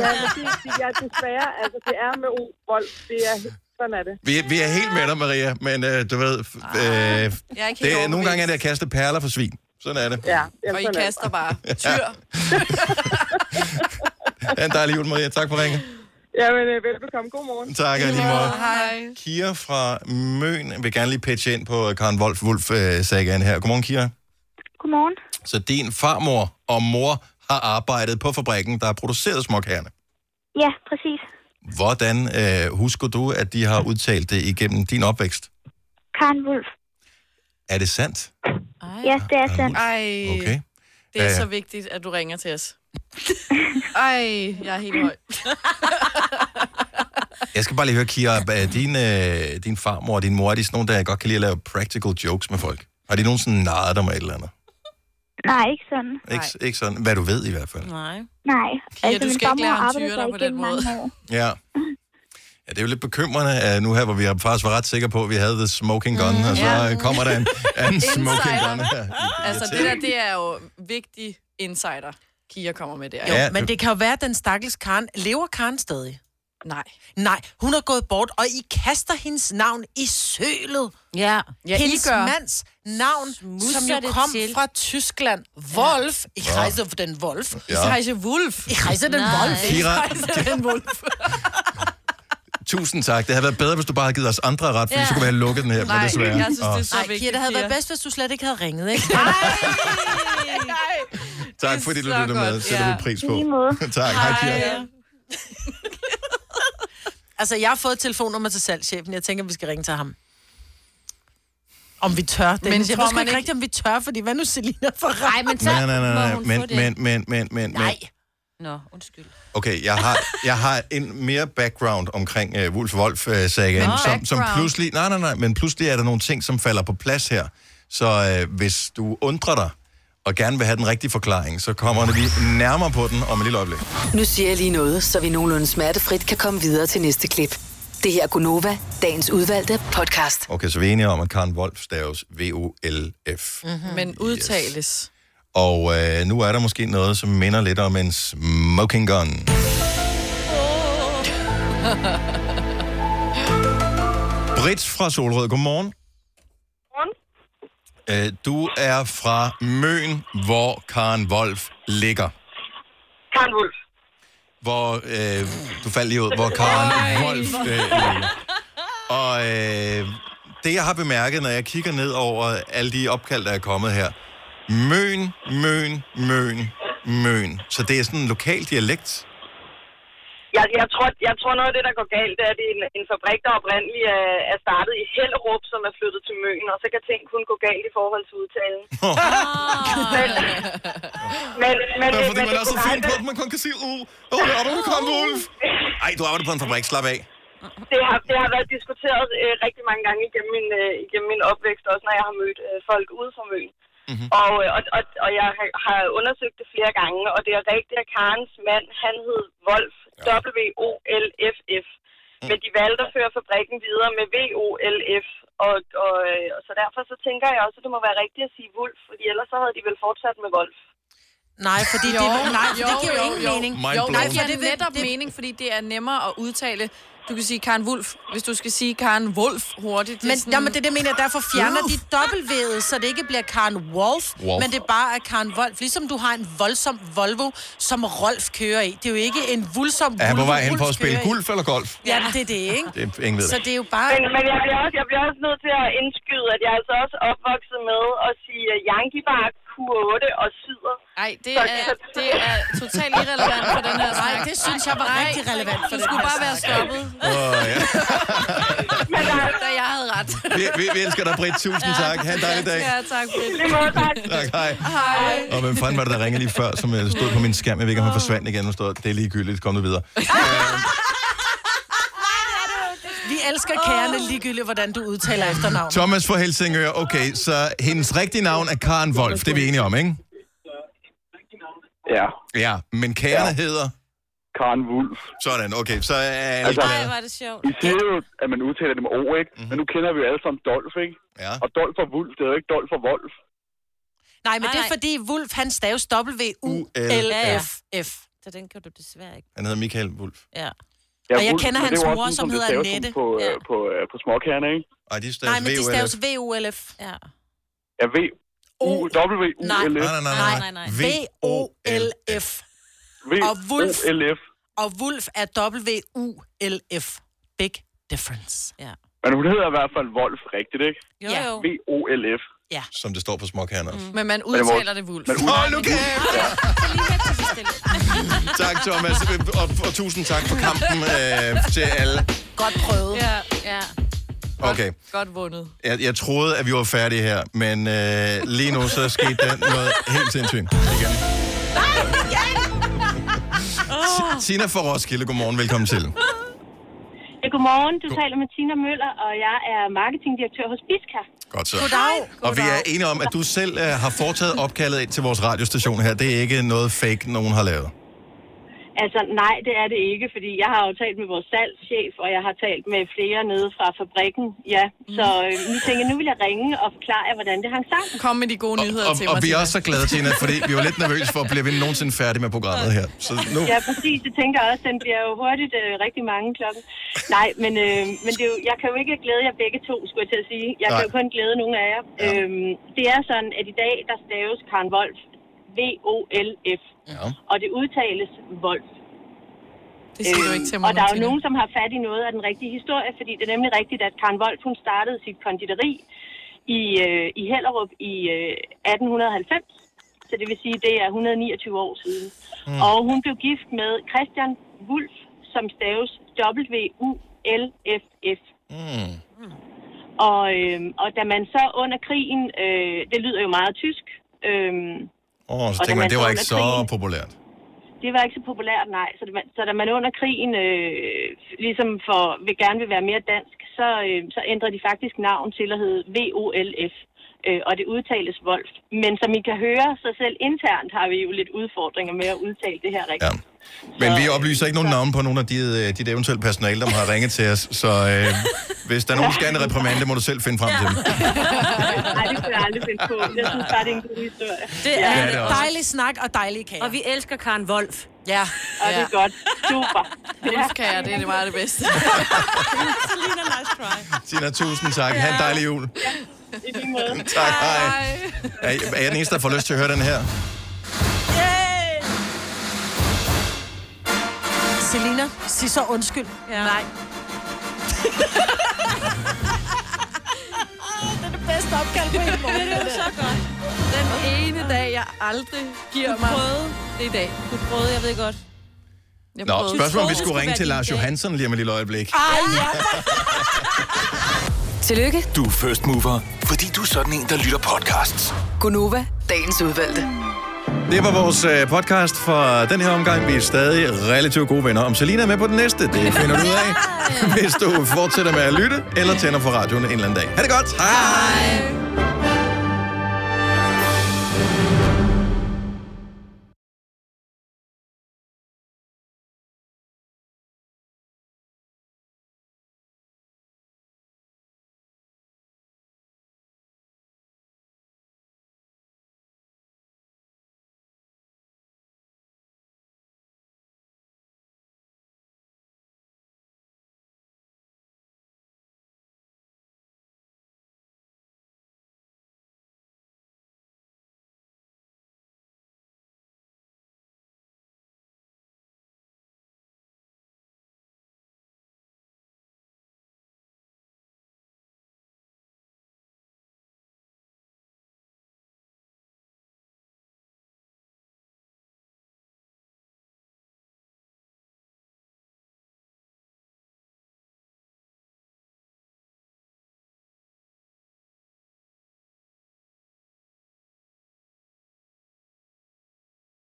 ja, men det, det er desværre, altså det er med O, Wolf, det er, sådan er det.
Vi, vi er helt med dig, Maria, men øh, du ved, f- øh,
Ah, Jeg er ikke helt
det er, nogle
overbevist.
gange er det at kaste perler for svin. Sådan er det.
Ja,
Og I kaster bare tyr.
Ha' en dejlig jul, Maria. Tak for ringen.
Jamen, øh, velbekomme. God morgen.
Tak, og i lige måde.
Hej.
Kira fra Møn vil gerne lige pitche ind på Karen Wolf Wolf øh, sagen her. Godmorgen, Kira.
Godmorgen.
Så din farmor og mor har arbejdet på fabrikken, der har produceret småkagerne.
Ja, præcis.
Hvordan øh, husker du, at de har udtalt det igennem din opvækst?
Karen Wolf.
Er det sandt?
Ja, det er sandt.
Ej,
Okay.
det er
Øh,
så vigtigt, at du ringer til os. Ej, jeg er helt høj.
Jeg skal bare lige høre, Kira, er din, øh, din farmor og din mor, er de sådan nogle, der godt kan lide at lave practical jokes med folk? Har de nogensinde narret dig med et eller andet?
Nej, ikke sådan.
Ikke, ikke sådan, hvad du ved i hvert fald.
Nej. Nej. Altså,
Kira, du skal ikke lære ham tyre dig
der
på den måde.
Ja. Ja, det er jo lidt bekymrende uh, nu her, hvor vi faktisk var ret sikre på, at vi havde the smoking gun, mm, og så
Ja.
øh, kommer der en anden smoking
Insider.
gun her.
Altså, det der, det er jo vigtig insider, Kia kommer med der.
Jo, Ja, men du-
det kan jo være, at den stakkels Karen lever Karen stadig. Nej. Nej, hun har gået bort, og I kaster hendes navn i sølet.
Ja.
Ja, I
Hendes
gør.
mands navn,
Smusser
som jo
det
kom
til.
fra Tyskland. Wolf. Ich
Ja.
heiße den Wolf.
Ja. Ich
heiße Wolf. Ich heiße den
Nej.
Wolf. Ich
Kira-
heiße den Wolf.
Tusind tak. Det havde været bedre, hvis du bare havde givet os andre ret, for
Ja.
så kunne vi have lukket den her, men desværre.
jeg synes, det er
Åh,
så vigtigt. Kira, det havde været bedst, hvis du slet ikke havde ringet, ikke?
Tak fordi du
så
lyttede med.
godt.
Sætter
Ja.
vi pris
I
på.
lige måde.
tak. Hej, Pia.
altså, jeg har fået et telefonnummer til salgschefen. Jeg tænker, vi skal ringe til ham. Om vi tør, det. Men jeg tror man ikke rigtigt, om vi tør, fordi hvad nu Selina for Nej, men
Nej, nej, nej, nej. Men, men, men, men, men, men.
Nej. Nå, undskyld.
Okay, jeg har, jeg har en mere background omkring uh, Wolf wolf uh, sagen
Nå.
som, som
Background.
pludselig... Nej, nej, nej, men pludselig er der nogle ting, som falder på plads her. Så uh, hvis du undrer dig, og gerne vil have den rigtige forklaring, så kommer vi nærmere på den om et lille øjeblik.
Nu siger jeg lige noget, så vi nogenlunde smertefrit kan komme videre til næste klip. Det her er Gunova, dagens udvalgte podcast.
Okay, så vi er enige om, at Karen Wolf staves V-O-L-F.
Mm-hmm. Men udtales.
Og øh, nu er der måske noget, som minder lidt om en smoking gun. Britt fra Solrød, godmorgen. Øh, du er fra Møn, hvor Karen Wolf ligger.
Karen Wolf.
Hvor, øh, du faldt lige ud, hvor Karen Wolf øh, ligger. Og øh, det, jeg har bemærket, når jeg kigger ned over alle de opkald, der er kommet her. Møn, Møn, Møn, Møn. Så det er sådan en lokal dialekt.
Jeg, jeg, tror, jeg tror, noget af det, der går galt, det er, at det er en, en fabrik, der oprindeligt er, er startet i Hellerup, som er flyttet til Møn, og så kan ting kun gå galt i forhold til udtalen. men, men, men,
Ja, fordi man
det
er så
kunne
fin på,
aldrig-
at man kun kan sige, uh, uh, jeg arbejder på Karen Wolf. Ej, du arbejder på en fabrik, slap af.
det har, det har været diskuteret øh, rigtig mange gange igennem min, øh, igennem min opvækst, også når jeg har mødt øh, folk ude fra Møn.
Mhm.
Mm-hmm. Og, øh, og, og, og jeg har- har undersøgt det flere gange, og det er rigtigt, at Karens mand, han hed Wolf, ja. Mm. W-O-L-F-F. Men de valgte at føre fabrikken videre med V-O-L-F, og, og, øh, og så derfor så tænker jeg også, at det må være rigtigt at sige Wolf, fordi ellers så havde de vel fortsat med Wolf.
Nej, fordi
Jo,
det, nej, for det
jo,
giver jo,
jo,
ingen
jo.
mening.
Mind
Jo,
blown.
nej, det giver
det vil-
netop det... mening, fordi det er nemmere at udtale. Du kan sige Karen Wolf, hvis du skal sige Karen Wolf hurtigt.
Men, sådan... jamen, det er det, jeg mener, derfor fjerner de W'et, så det ikke bliver Karen Wolf,
Wolf.
Wolf. men det er bare er Karen Wolf. Ligesom du har en voldsom Volvo, som Rolf kører i. Det er jo ikke en voldsom
Er han på
Volvo,
vej hen for at
Rolf
spille
kører i.
golf eller golf?
Ja, det er det, ikke?
Det er ingen ved
Så
det.
det er jo bare...
Men, men jeg, bliver også, jeg bliver også nødt til at indskyde, at jeg er altså også opvokset med at sige øh, Yankee Bar, Q8 og Syder.
Nej, det er, det er totalt irrelevant for den her snak. Nej, det synes jeg var Ej, rigtig relevant for Du skulle bare være stoppet,
Åh, ja.
da jeg havde ret.
vi, vi, vi elsker dig, Britt. Tusind tak. Ha' en dejlig dag.
Ja, tak. Britt.
Tak, hej.
Hej.
Og hvem fanden var det, der ringede lige før, som øh, stod på min skærm? Jeg ved ikke, om han forsvandt igen. Nu stod, det er ligegyldigt. Kom nu videre.
Vi elsker kærne ligegyldigt, hvordan du udtaler efternavn.
Thomas fra Helsingør. Okay, så hendes rigtige navn er Karen Wolf. Det er vi enige om, ikke?
Ja.
Ja, men kærene ja. hedder?
Karen Wulf.
Sådan, okay. Så er alle
Altså,
glade.
det sjovt.
I siger jo, at man udtaler det med O, ikke? Mm-hmm. Men nu kender vi jo alle sammen Dolf, ikke?
Ja.
Og Dolf og Wulf, det er jo ikke Dolf og Wolf.
Nej, men det er fordi Wolf, han staves W-U-L-F-F.
Så den kan du desværre ikke.
Han hedder Michael Wolf.
Ja. Og jeg
men det
kender
er
hans
jo
mor,
sådan,
som
det
hedder
staves
Annette.
På, ja. på, øh, på småkærne, ikke?
Ej, de staves
Nej, men det staves V-U-L-F. Ja.
Ja, V. U, W, U,
Nej.
L, F.
Nej, nej, nej, nej. Nej, nej, nej. V-O-L-F.
V,
Og Wulf.
O, L, F.
Og Wolf er W-U-L-F. Big difference. Ja.
Men hun hedder i hvert fald Wolf, rigtigt, ikke?
Jo, Ja. jo.
V, O, L, F.
Ja.
Som det står på småkærne også.
Men man
Men det må-
udtaler det Wolf.
Man udtaler Hold nu det Wulf. kæft! Tak, Thomas. Og, og tusind tak for kampen øh, til alle.
Godt prøvet.
Ja, ja.
Okay.
Godt vundet.
Jeg, jeg troede, at vi var færdige her, men øh, lige nu så skete der noget helt sindssygt. Igen.
Oh.
Tina fra Roskilde, godmorgen, velkommen til.
Ja, godmorgen. Du taler med Tina Møller, og jeg er marketingdirektør hos Biska.
Godt så.
Goddag.
Og vi er enige om, at du selv øh, har foretaget opkaldet ind til vores radiostation her. Det er ikke noget fake, nogen har lavet.
Altså, nej, det er det ikke, fordi jeg har jo talt med vores salgschef, og jeg har talt med flere nede fra fabrikken. Ja, så øh, nu tænker jeg, nu vil jeg ringe og forklare jer, hvordan det hang sammen.
Mm. Kom med de gode nyheder
Og, og vi er også så glade, Tina, fordi vi var lidt nervøse for, bliver vi nogensinde færdige med programmet her. Så nu...
Ja, præcis. Det tænker jeg også. Den bliver jo hurtigt øh, rigtig mange klokken. Nej, men, øh, men det er jo, jeg kan jo ikke glæde jer begge to, skulle jeg til at sige. Jeg Nej. kan
Nej.
jo kun glæde nogle af jer. Ja. Øhm, det er sådan, at i dag, der staves Karen Wolf. V-O-L-F.
Ja.
Og det udtales Wolf.
Det siger du ikke til mig
Og
nu,
der er jo
Tina.
nogen, som har fat i noget af den rigtige historie, fordi det er nemlig rigtigt, at Karen Wolf, hun startede sit konditori i, øh, i Hellerup i øh, 1890. så det vil sige, det er 129 år siden.
Mm.
Mm. Og hun blev gift med Christian Wulf, som staves W-U-L-F-F.
Mm.
Og, øh, og da man så under krigen, øh, det lyder jo meget tysk, øh,
Åh, oh, så
Og da
tænker man,
man
det
så
var
under
ikke så
krigen-
populært.
det var ikke så populært, nej. Så da man, så da man under krigen øh, ligesom for, vil gerne vil være mere dansk, så, øh, så ændrede de faktisk navn til at hedde VOLF. Øh, og det udtales Wolf. Men som I kan høre, så selv internt har vi jo lidt udfordringer med at udtale det her rigtigt. Ja.
Men vi oplyser ikke nogen navne på nogen af de, øh, dit eventuelle personale, der har ringet til os. Så øh, hvis der er nogen, der skal have en reprimande, må du selv finde frem til dem.
Nej, det kan jeg aldrig finde på. Jeg synes bare, det er en god historie.
Det er,
Ja,
ja,
det
det
er
er
også.
dejlig snak og dejlig kage. Og vi elsker Karen Wolf. Ja.
Og det er godt. Super.
Wolfkager, det er det meget det bedste.
Selina, nice try.
Tina, tusind tak. Ha' en dejlig jul.
I lige måde.
Tak, hej. Er, er jeg den eneste, der får lyst til at høre den her?
Selina, sig så undskyld. Ja. Nej.
Det er det bedste opkald på en måde. det er så godt. Den ene dag, jeg aldrig giver
Du
mig,
prøvede.
det er i dag.
Du prøvede, jeg ved godt.
Jeg
Nå,
prøvede.
spørgsmålet om vi
Du troede, det
skulle ringe
være
til
din
Lars
dag.
Johansson lige om et lille øjeblik.
Ej, ja.
Tillykke.
Du er first mover, fordi du er sådan en, der lytter podcasts.
Gunova, dagens udvalgte.
Det var vores øh, podcast for den her omgang. Vi er stadig relativt gode venner. Om Selina er med på den næste, det finder du ud af, hvis du fortsætter med at lytte eller tænder for radioen en eller anden dag. Ha' det godt! Hej!